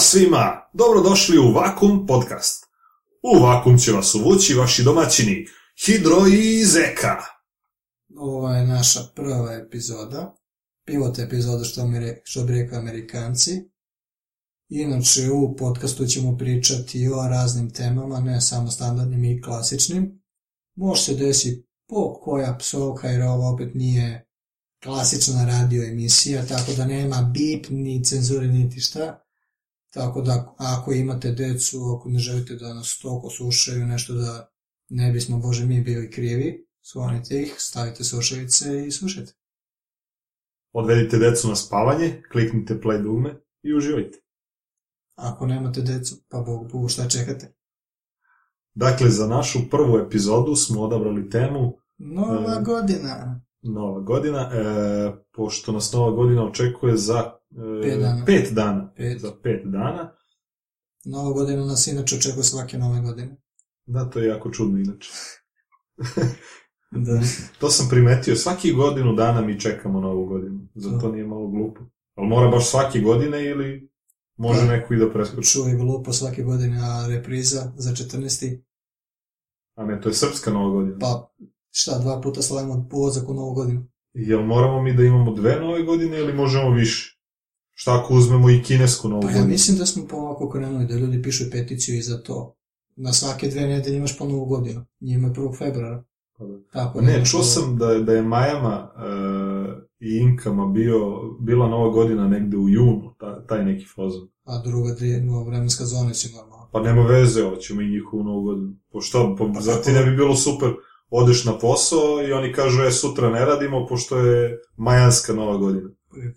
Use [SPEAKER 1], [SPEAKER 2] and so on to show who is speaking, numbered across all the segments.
[SPEAKER 1] svima! Dobrodošli u Vakum podcast. U Vakum će vas uvući vaši domaćini Hidro i Zeka.
[SPEAKER 2] Ovo je naša prva epizoda, pilot epizoda što, mi re, što bi rekli Amerikanci. Inače u podcastu ćemo pričati o raznim temama, ne samo standardnim i klasičnim. Može se desi po koja psovka jer ovo opet nije klasična radio emisija, tako da nema bip, ni cenzure, niti šta. Tako da ako imate decu, ako ne želite da nas toliko slušaju, nešto da ne bismo, Bože, mi bili krivi, sklonite ih, stavite slušalice i slušajte.
[SPEAKER 1] Odvedite decu na spavanje, kliknite play dugme i uživajte.
[SPEAKER 2] Ako nemate decu, pa Bog bu, šta čekate?
[SPEAKER 1] Dakle, za našu prvu epizodu smo odabrali temu
[SPEAKER 2] Nova
[SPEAKER 1] E,
[SPEAKER 2] godina!
[SPEAKER 1] Nova godina, e, pošto nas Nova godina očekuje za e,
[SPEAKER 2] Pet dana.
[SPEAKER 1] pet dana.
[SPEAKER 2] Pet.
[SPEAKER 1] Za pet dana.
[SPEAKER 2] Nova godina nas inače očekuje svake nove godine.
[SPEAKER 1] Da, to je jako čudno inače.
[SPEAKER 2] Da.
[SPEAKER 1] To sam primetio, svaki godinu dana mi čekamo novu godinu. Zato to nije malo glupo. Ali mora baš svake godine ili može
[SPEAKER 2] Da.
[SPEAKER 1] neko i da preskoči.
[SPEAKER 2] Čuvaj glupo svake godine, a repriza za 14.
[SPEAKER 1] A ne, to je srpska nova godina.
[SPEAKER 2] Pa šta, dva puta slavimo ulazak u novu godinu.
[SPEAKER 1] Jel moramo mi da imamo dve nove godine ili možemo više? Šta ako uzmemo i kinesku novu
[SPEAKER 2] Pa ja
[SPEAKER 1] godinu?
[SPEAKER 2] mislim da smo pomako krenuli, da ljudi pišu peticiju i za to. Na svake dve nedelje imaš po novu godinu. Njima je 1. februara.
[SPEAKER 1] Pa da.
[SPEAKER 2] Tako da
[SPEAKER 1] Ne,
[SPEAKER 2] imaš
[SPEAKER 1] čuo
[SPEAKER 2] ovo-
[SPEAKER 1] sam da, da je Majama e, i Inkama bio, bila nova godina negde u junu, ta, taj neki fazon.
[SPEAKER 2] A druga dvije, no, vremenska zona si normalno.
[SPEAKER 1] Pa nema veze, hoćemo i njihovu novu godinu. Po šta, pa,
[SPEAKER 2] Pa
[SPEAKER 1] zar
[SPEAKER 2] kako
[SPEAKER 1] ti ne bi bilo super, odeš na posao i oni kažu, e, sutra ne radimo, pošto je majanska nova godina.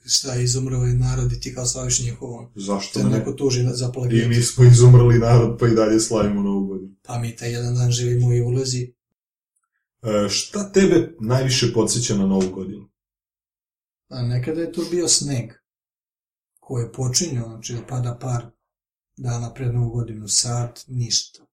[SPEAKER 2] Šta, izumrli narod i ti kao slaviš njihovom.
[SPEAKER 1] Zašto
[SPEAKER 2] Te
[SPEAKER 1] da ne?
[SPEAKER 2] neko tuži na- za plagijat.
[SPEAKER 1] I mi smo izumrli narod, pa i dalje slavimo novu godinu.
[SPEAKER 2] Pa mi taj jedan dan živimo i ulazi.
[SPEAKER 1] E, šta tebe najviše podsjeća na novu godinu?
[SPEAKER 2] A nekada je to bio sneg koji je počinjao, znači da pada par dana pred novu godinu, sat, ništa.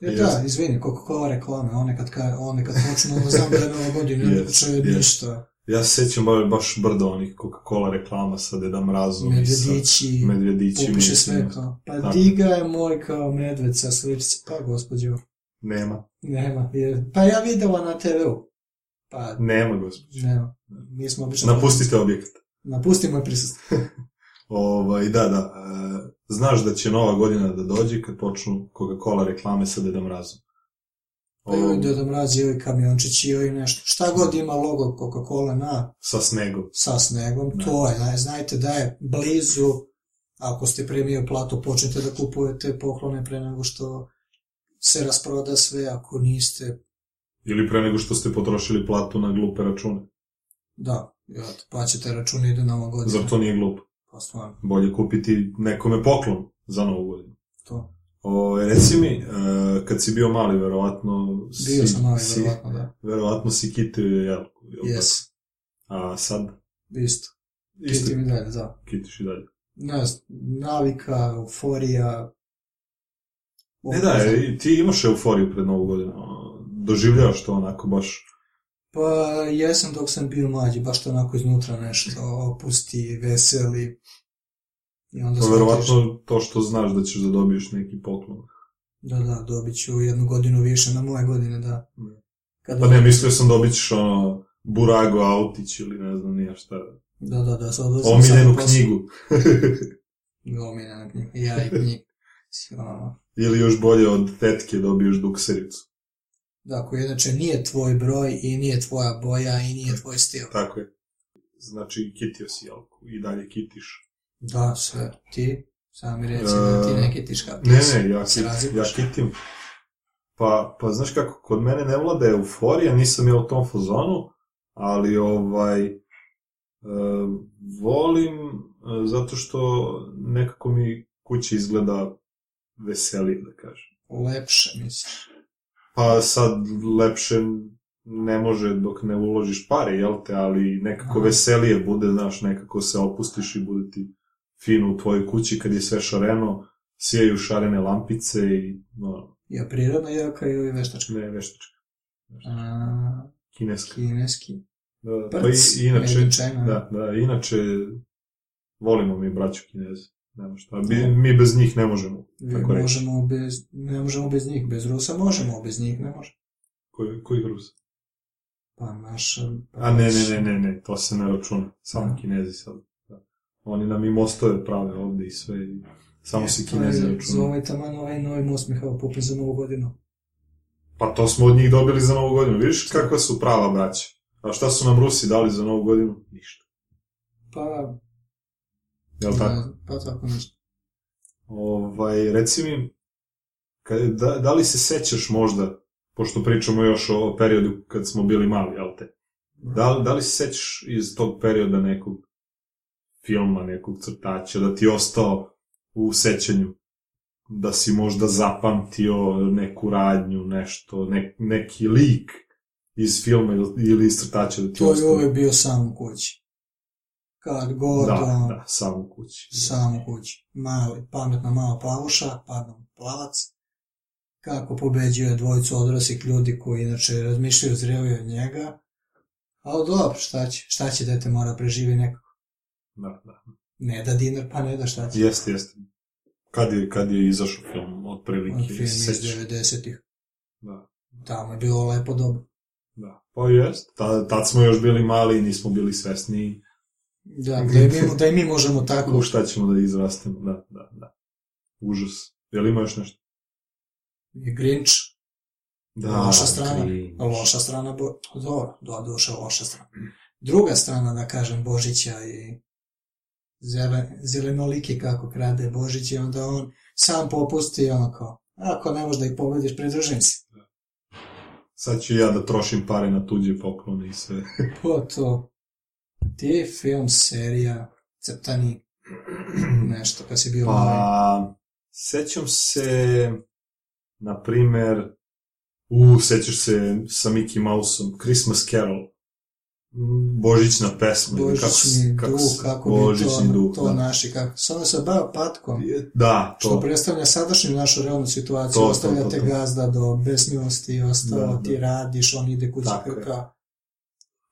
[SPEAKER 2] E, da,
[SPEAKER 1] Jeste.
[SPEAKER 2] izvini, koliko kao reklame, one kad, ka, one kad počnu, onda znam da je nova godina, yes,
[SPEAKER 1] Jeste,
[SPEAKER 2] počeo je
[SPEAKER 1] jeste.
[SPEAKER 2] ništa,
[SPEAKER 1] Ja se sjećam ba- baš brdo onih Coca-Cola reklama sa Deda Mrazom i sa
[SPEAKER 2] medvjedići,
[SPEAKER 1] medvjedićima. i
[SPEAKER 2] popiše
[SPEAKER 1] svima.
[SPEAKER 2] sve kao, pa
[SPEAKER 1] Tako.
[SPEAKER 2] diga je moj kao medved sa sličice, pa gospođo,
[SPEAKER 1] Nema,
[SPEAKER 2] nema, je, pa ja videla na TV-u, pa
[SPEAKER 1] nema gospod.
[SPEAKER 2] nema, mi smo obično...
[SPEAKER 1] Napustite objekat.
[SPEAKER 2] Napusti moj prisustvo.
[SPEAKER 1] Ovaj, da, da. e, znaš da će nova godina da dođe kad počnu Coca-Cola reklame sa Deda Mrazom.
[SPEAKER 2] Pa
[SPEAKER 1] Ovo,
[SPEAKER 2] joj Deda Mraz, joj kamiončić, joj nešto. Šta god ima logo Coca-Cola na,
[SPEAKER 1] Sa snegom.
[SPEAKER 2] sa snegom,
[SPEAKER 1] Da.
[SPEAKER 2] to je, znaj- znajte da je blizu, ako ste premio platu, počnete da kupujete poklone pre nego što se rasproda sve, ako niste,
[SPEAKER 1] Ili pre nego što ste potrošili platu na glupe račune.
[SPEAKER 2] da, ja, plaćate račune, idu nova godina.
[SPEAKER 1] Zar to nije glupo?
[SPEAKER 2] Pa stvarno,
[SPEAKER 1] Bolje kupiti nekome poklon za novu godinu.
[SPEAKER 2] to.
[SPEAKER 1] O, reci mi, e, kad si bio mali, verovatno... si-
[SPEAKER 2] Bio sam mali,
[SPEAKER 1] si-
[SPEAKER 2] verovatno, da.
[SPEAKER 1] Verovatno si kitio jelku. jel tako?
[SPEAKER 2] Jes,
[SPEAKER 1] A sad?
[SPEAKER 2] isto.
[SPEAKER 1] Isto
[SPEAKER 2] Kiti mi dalje, da.
[SPEAKER 1] kitiš i dalje.
[SPEAKER 2] Ne znam, navika, euforija.
[SPEAKER 1] Ne da,
[SPEAKER 2] Ovo-
[SPEAKER 1] e, ti imaš euforiju pred novu godinu. ono, Doživljavaš to onako baš
[SPEAKER 2] Pa jesam dok sam bio mlađi, baš to onako iznutra nešto opusti, veseli. I onda
[SPEAKER 1] Pa
[SPEAKER 2] sam
[SPEAKER 1] verovatno to što znaš da ćeš da dobiješ neki poklon.
[SPEAKER 2] Da, da, dobit ću jednu godinu više na moje godine, da.
[SPEAKER 1] Mm.
[SPEAKER 2] Kad
[SPEAKER 1] Pa ne, mislio sam dobit ćeš ono Burago Autić ili ne znam nija šta.
[SPEAKER 2] Da, da, da, sad odlazim sad
[SPEAKER 1] Omiljenu
[SPEAKER 2] na posao.
[SPEAKER 1] knjigu.
[SPEAKER 2] Omiljenu knjigu, ja i ono. knjigu. Sjao.
[SPEAKER 1] Ili još bolje od tetke dobiješ duksericu.
[SPEAKER 2] Da, koji inače nije tvoj broj i nije tvoja boja i nije tvoj stil.
[SPEAKER 1] Tako je. Znači, kitio si jelku i dalje kitiš.
[SPEAKER 2] Da, sve. Ti, sami reci da ti neki tiška
[SPEAKER 1] E, Ne, ne, ja,
[SPEAKER 2] Se
[SPEAKER 1] kit- ja
[SPEAKER 2] razlikuješ.
[SPEAKER 1] kitim. Pa, pa znaš kako, kod mene ne vlada euforija, nisam ja u tom fazonu, ali ovaj, e, volim e, zato što nekako mi kuća izgleda veselije, da kažem.
[SPEAKER 2] Lepše, misliš.
[SPEAKER 1] Pa sad lepše ne može dok ne uložiš pare, jel te, ali nekako
[SPEAKER 2] Aha.
[SPEAKER 1] veselije bude, znaš, nekako se opustiš i bude ti fino u tvojoj kući kad je sve šareno, sijaju šarene lampice i ono, no,
[SPEAKER 2] Ja prirodna jaka ili veštačka?
[SPEAKER 1] Ne, veštačka.
[SPEAKER 2] A,
[SPEAKER 1] Kineska.
[SPEAKER 2] kineski.
[SPEAKER 1] Da, da,
[SPEAKER 2] Prc,
[SPEAKER 1] pa i, inače,
[SPEAKER 2] medvečana.
[SPEAKER 1] da, da, inače volimo mi braću Kineze. nema šta. Mi, mi bez njih ne možemo.
[SPEAKER 2] Mi
[SPEAKER 1] Tako reći.
[SPEAKER 2] možemo bez, ne možemo bez njih, bez Rusa možemo, bez njih ne možemo.
[SPEAKER 1] Koji, koji Rus?
[SPEAKER 2] Pa naša... pa
[SPEAKER 1] A ne,
[SPEAKER 2] naša-
[SPEAKER 1] ne, ne, ne, ne, to se ne računa. Samo
[SPEAKER 2] Da.
[SPEAKER 1] kinezi sad. Da. Oni nam i mostove prave ovdje i sve. I samo se
[SPEAKER 2] E, To je
[SPEAKER 1] kinezi
[SPEAKER 2] Za
[SPEAKER 1] računa.
[SPEAKER 2] ovaj taman ovaj novi most Mihajlo Pupin za novu godinu.
[SPEAKER 1] Pa to smo od njih dobili za novu godinu. Vidiš kakva su prava braća. A šta su nam Rusi dali za novu godinu? Ništa.
[SPEAKER 2] Pa,
[SPEAKER 1] Jel tako?
[SPEAKER 2] pa tako nešto.
[SPEAKER 1] Ovaj, reci mi, ka- da, da li se sećaš možda, pošto pričamo još o periodu kad smo bili mali, jel te? Da, li- da li se sećaš iz tog perioda nekog filma, nekog crtača, da ti je ostao u sećanju? Da si možda zapamtio neku radnju, nešto, ne- neki lik iz filma ili- ili iz crtača da ti je
[SPEAKER 2] To je
[SPEAKER 1] ostao?
[SPEAKER 2] uvijek bio sam u kući. Kad god,
[SPEAKER 1] Da,
[SPEAKER 2] ono,
[SPEAKER 1] da, samo u kući.
[SPEAKER 2] sam u kući. Mali, pametna mala plavuša, pardon, plavac. Kako pobeđuje dvojicu odraslih ljudi koji inače razmišljaju zrelije od njega. Ali dobro, šta će, šta će dete mora preživi nekako.
[SPEAKER 1] Da, da.
[SPEAKER 2] Ne da dinar, pa ne da šta će.
[SPEAKER 1] Jeste, jeste. Kad je, kad je izašao film, otprilike,
[SPEAKER 2] Ono Film iz
[SPEAKER 1] se sećaš?
[SPEAKER 2] 90-ih.
[SPEAKER 1] Da.
[SPEAKER 2] Tamo je bilo lepo dobro.
[SPEAKER 1] Da. Pa jest, Ta, tad smo još bili mali i nismo bili svesni
[SPEAKER 2] Da, da i mi, da i mi možemo
[SPEAKER 1] u
[SPEAKER 2] tako.
[SPEAKER 1] šta ćemo da izrastemo. Da, da, da. Užas. Je li ima još nešto?
[SPEAKER 2] I Grinch,
[SPEAKER 1] Da,
[SPEAKER 2] Loša strana.
[SPEAKER 1] Grinch.
[SPEAKER 2] loša strana, bo... dobro, do duše loša strana. Druga strana, da kažem, Božića i zelen, zelenoliki kako krade Božić i onda on sam popusti i ono kao, ako ne možeš da ih pobediš, pridružim se.
[SPEAKER 1] Sad ću ja da trošim pare na tuđe poklone i sve.
[SPEAKER 2] Po to, ti je film, serija, crtani, nešto, kad si bio mali.
[SPEAKER 1] Pa, sećam se, na primer, u, sećaš se sa Mickey Mouseom, Christmas Carol, Mm, Božićna pesma. ili kako se-
[SPEAKER 2] Božićni duh,
[SPEAKER 1] se-
[SPEAKER 2] kako bi to,
[SPEAKER 1] Božićni duh,
[SPEAKER 2] to
[SPEAKER 1] da.
[SPEAKER 2] naši, kako, samo se bavio patkom.
[SPEAKER 1] Da, to.
[SPEAKER 2] Što predstavlja sadašnju našu realnu situaciju,
[SPEAKER 1] To, to,
[SPEAKER 2] ostavlja
[SPEAKER 1] to,
[SPEAKER 2] te
[SPEAKER 1] to.
[SPEAKER 2] gazda do besmilosti i ostalo,
[SPEAKER 1] Da, da.
[SPEAKER 2] ti radiš, on ide kući
[SPEAKER 1] Tako je.
[SPEAKER 2] krka.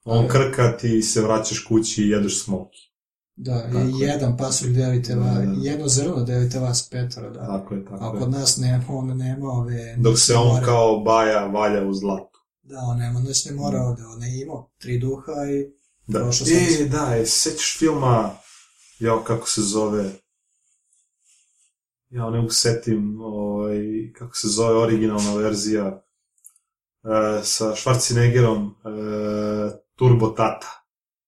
[SPEAKER 1] On krka ti se vraćaš kući i jedeš smoki.
[SPEAKER 2] Da,
[SPEAKER 1] Tako
[SPEAKER 2] i
[SPEAKER 1] je.
[SPEAKER 2] jedan pasulj delite vas,
[SPEAKER 1] Da, da.
[SPEAKER 2] jedno zrno delite vas petoro, da.
[SPEAKER 1] Tako je, tako
[SPEAKER 2] A
[SPEAKER 1] je.
[SPEAKER 2] kod nas nema, on nema ove...
[SPEAKER 1] Dok se on
[SPEAKER 2] more.
[SPEAKER 1] kao baja valja u zlatu.
[SPEAKER 2] Da, on nema noćne mora
[SPEAKER 1] Mm.
[SPEAKER 2] ovde, on je imao tri duha i...
[SPEAKER 1] Da.
[SPEAKER 2] Prošao sam
[SPEAKER 1] E, da, je, sećaš filma, jao, kako se zove, ja ne mogu setim, ovaj, kako se zove originalna verzija e, sa Schwarzeneggerom, e, Turbo Tata.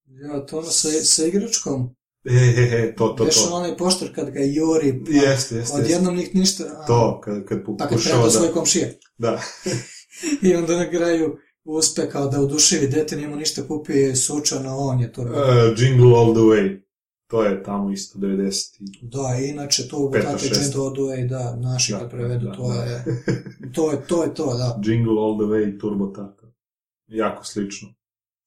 [SPEAKER 2] Ja, to ono sa, sa igračkom.
[SPEAKER 1] E, he, he, to, to,
[SPEAKER 2] Veš
[SPEAKER 1] to.
[SPEAKER 2] onaj poštar kad ga juri, pa
[SPEAKER 1] Jeste, jeste, jeste.
[SPEAKER 2] ono odjednom nik ništa... a,
[SPEAKER 1] To, kad, kad
[SPEAKER 2] Pa kad treba
[SPEAKER 1] pokušava
[SPEAKER 2] do svoje
[SPEAKER 1] da...
[SPEAKER 2] komšije.
[SPEAKER 1] Da,
[SPEAKER 2] I onda na kraju uspe kao da oduševi dete, nije mu ništa kupio je sučano, on je to.
[SPEAKER 1] E, Jingle All The Way. To je tamo isto 90.
[SPEAKER 2] Da, inače to u
[SPEAKER 1] Peta,
[SPEAKER 2] Botate
[SPEAKER 1] šesta.
[SPEAKER 2] Čento oduje i da, naši
[SPEAKER 1] Da,
[SPEAKER 2] kad prevedu,
[SPEAKER 1] da,
[SPEAKER 2] to,
[SPEAKER 1] da.
[SPEAKER 2] Je, to je, to je to, da.
[SPEAKER 1] Jingle All The Way Turbo Tata. Jako slično.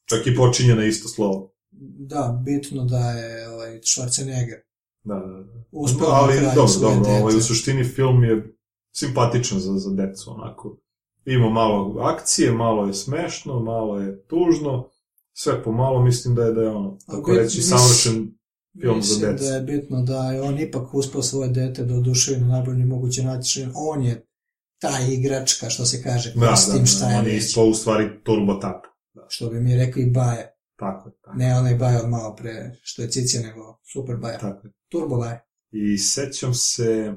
[SPEAKER 1] Čak i počinje na isto slovo.
[SPEAKER 2] Da, bitno da je ovaj, Schwarzenegger
[SPEAKER 1] Da, da, da.
[SPEAKER 2] uspeo
[SPEAKER 1] Ali
[SPEAKER 2] na kraju
[SPEAKER 1] dobro,
[SPEAKER 2] svoje
[SPEAKER 1] dobro.
[SPEAKER 2] dete.
[SPEAKER 1] Ovaj, u suštini film je simpatičan za, za decu, onako. Ima malo akcije, malo je smešno, malo je tužno. Sve pomalo mislim da je da je ono, tako
[SPEAKER 2] bi-
[SPEAKER 1] reći,
[SPEAKER 2] mis-
[SPEAKER 1] savršen film za
[SPEAKER 2] Mislim
[SPEAKER 1] decu.
[SPEAKER 2] da je bitno da je on ipak uspeo svoje dete da oduševi na najbolji mogući način. On je ta igračka, što se kaže,
[SPEAKER 1] Da,
[SPEAKER 2] s
[SPEAKER 1] da,
[SPEAKER 2] tim šta
[SPEAKER 1] da,
[SPEAKER 2] je
[SPEAKER 1] on je
[SPEAKER 2] već.
[SPEAKER 1] ispao u stvari Turbo Tata.
[SPEAKER 2] Što bi mi rekli baje.
[SPEAKER 1] Tako je, tako,
[SPEAKER 2] Ne onaj baje od malo pre, što je cici, nego super baje.
[SPEAKER 1] tako je.
[SPEAKER 2] Turbo baje.
[SPEAKER 1] I sećam se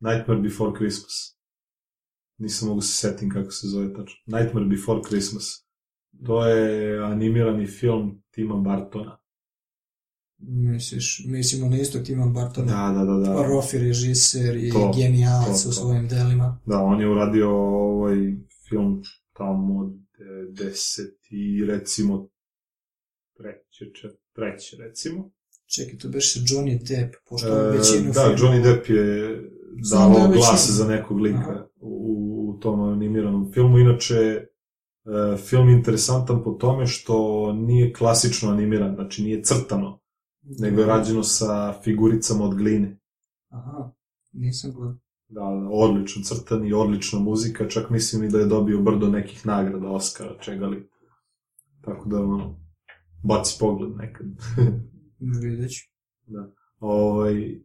[SPEAKER 1] Nightmare Before Christmas. Nisam mogu se setim kako se zove tačno. Nightmare Before Christmas. To je animirani film Tima Bartona.
[SPEAKER 2] Misliš, mislimo na istog Tima Bartona.
[SPEAKER 1] Da, da, da, da.
[SPEAKER 2] Rofi režiser i
[SPEAKER 1] To, to,
[SPEAKER 2] genijalac
[SPEAKER 1] to.
[SPEAKER 2] u svojim delima.
[SPEAKER 1] Da, on je uradio ovaj film tamo od 10 i recimo treće, čet- treće recimo.
[SPEAKER 2] Čekaj, to beše Johnny Depp, pošto
[SPEAKER 1] E,
[SPEAKER 2] on većinu
[SPEAKER 1] da, Johnny Depp je
[SPEAKER 2] Znam da je
[SPEAKER 1] davao
[SPEAKER 2] većinu.
[SPEAKER 1] glas za nekog
[SPEAKER 2] Aha.
[SPEAKER 1] lika u, u tom animiranom filmu. Inače, e, film je interesantan po tome što nije klasično animiran, znači nije crtano, nego
[SPEAKER 2] Mhm.
[SPEAKER 1] je rađeno sa figuricama od gline.
[SPEAKER 2] Aha, nisam gledao.
[SPEAKER 1] Da, da, odlično crtan i odlična muzika, čak mislim i da je dobio brdo nekih nagrada, Oscara, čega li. Tako da, ono, baci pogled nekad.
[SPEAKER 2] Vidjet ću.
[SPEAKER 1] Ovaj, e,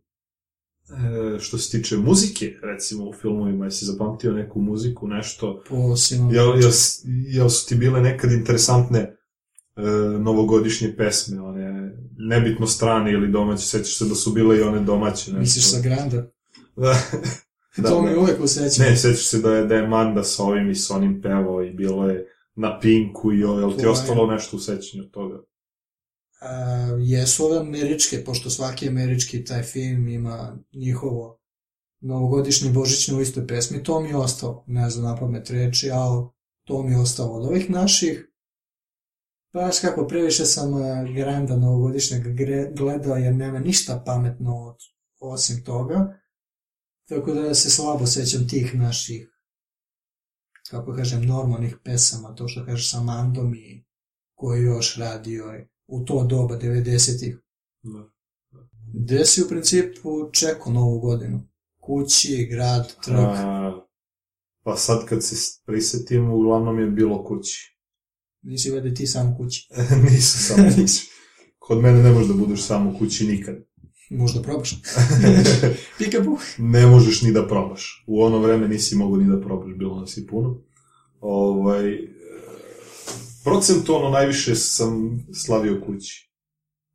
[SPEAKER 1] što se tiče muzike, recimo u filmovima, jesi zapamtio neku muziku, nešto,
[SPEAKER 2] po sinom.
[SPEAKER 1] jel, jel, s- jel su ti bile nekad interesantne e, novogodišnje pesme, one nebitno strane ili domaće, sećaš se da su bile i one domaće, nešto.
[SPEAKER 2] Misliš sa Granda?
[SPEAKER 1] Da, da,
[SPEAKER 2] to
[SPEAKER 1] da.
[SPEAKER 2] mi je uvek u sećanju.
[SPEAKER 1] Ne, sećaš se da je, da je Manda sa ovim i sa onim pevao i bilo je na Pinku i ovo, jel ti
[SPEAKER 2] To je.
[SPEAKER 1] ostalo nešto u sećanju od toga?
[SPEAKER 2] A, jesu ove američke, pošto svaki američki taj film ima njihovo novogodišnje božićne u istoj pesmi, to mi je ostalo, ne znam na pamet reći, ali to mi je ostalo od ovih naših. Pa znaš kako, previše sam a, Granda novogodišnjeg gre- gledao jer nema ništa pametno od, osim toga, tako da se slabo sećam tih naših, kako kažem, normalnih pesama, to što kažeš sa Mandom i koji je još radio je u to doba 90-ih.
[SPEAKER 1] Da.
[SPEAKER 2] Gde si u principu čekao novu godinu? Kući, grad, trg.
[SPEAKER 1] A, pa sad kad se s- prisetim, uglavnom je bilo kući.
[SPEAKER 2] Nisi vede ti sam kući.
[SPEAKER 1] Pa, Nisam samo kući. Kod mene ne možeš da budeš samo kući nikad.
[SPEAKER 2] Možda probaš. Pikabu.
[SPEAKER 1] ne možeš ni da probaš. U ono vreme nisi mogu ni da probaš, bilo nas i puno. Ovaj, e, procentualno najviše sam slavio kući.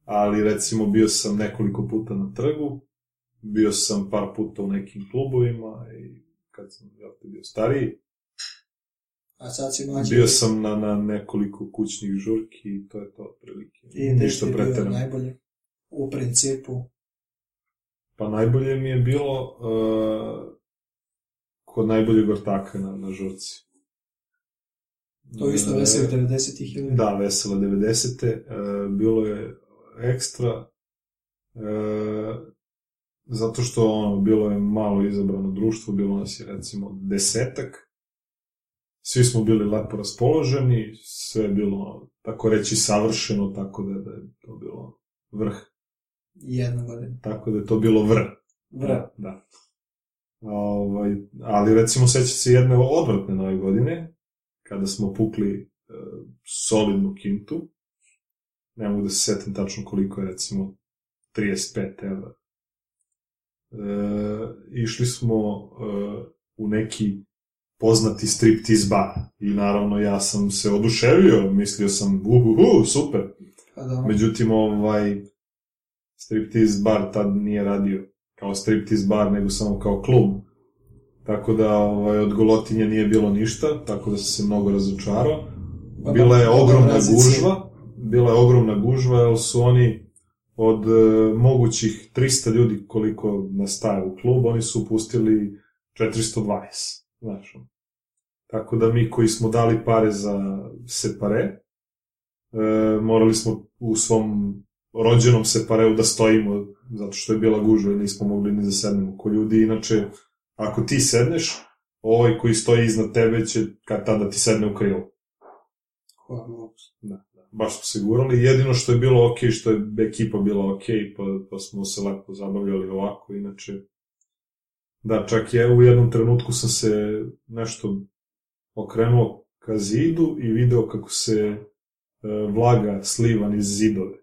[SPEAKER 1] Ali recimo bio sam nekoliko puta na trgu, bio sam par puta u nekim klubovima i kad sam ja bio stariji,
[SPEAKER 2] A sad si mlađi.
[SPEAKER 1] Bio sam na, na nekoliko kućnih žurki i to je to otprilike.
[SPEAKER 2] I
[SPEAKER 1] Ništa
[SPEAKER 2] ništa preterano.
[SPEAKER 1] preterano.
[SPEAKER 2] Najbolje. U principu.
[SPEAKER 1] Pa najbolje mi je bilo uh, kod najboljeg ortaka na, na žurci.
[SPEAKER 2] To je isto
[SPEAKER 1] E,
[SPEAKER 2] veseli 90-ih ili...
[SPEAKER 1] Da, vesela 90. E, bilo je ekstra, e, zato što ono, bilo je malo izabrano društvo, bilo nas je recimo desetak, svi smo bili lepo raspoloženi, sve je bilo ono, tako reći savršeno, tako da, da je to bilo vrh,
[SPEAKER 2] Jedna godina.
[SPEAKER 1] tako da je to bilo vrh.
[SPEAKER 2] Vra.
[SPEAKER 1] Da. Ovaj, ali recimo sećam se jedne odvratne nove godine, kada smo pukli e, solidnu kintu, ne mogu da se setim tačno koliko je recimo 35 evra. E, išli smo e, u neki poznati striptease bar i naravno ja sam se oduševio, mislio sam uhuhu, super,
[SPEAKER 2] Pa da ono,
[SPEAKER 1] Međutim, ovaj, striptease bar tad nije radio kao striptease bar, nego samo kao klub. Tako da ovaj, od golotinja nije bilo ništa, tako da sam se mnogo razočarao.
[SPEAKER 2] Pa da,
[SPEAKER 1] Bila je ogromna
[SPEAKER 2] obrazici.
[SPEAKER 1] gužva, bila je ogromna gužva, jer su oni od e, mogućih 300 ljudi koliko nastaje u klub, oni su pustili 420, znaš. ono. Tako da mi koji smo dali pare za separe, e, morali smo u svom rođenom separeu da stojimo, zato što je bila gužva i nismo mogli ni da sednemo ko ljudi. Inače, ako ti sedneš, ovaj koji stoji iznad tebe će kad tada ti sedne u krilo.
[SPEAKER 2] koja glupost.
[SPEAKER 1] Baš smo se gurali. Jedino što je bilo ok, što je ekipa bila ok, pa, pa smo se lako zabavljali ovako, inače... Da, čak je u jednom trenutku sam se nešto okrenuo ka zidu i video kako se e, vlaga sliva niz zidove.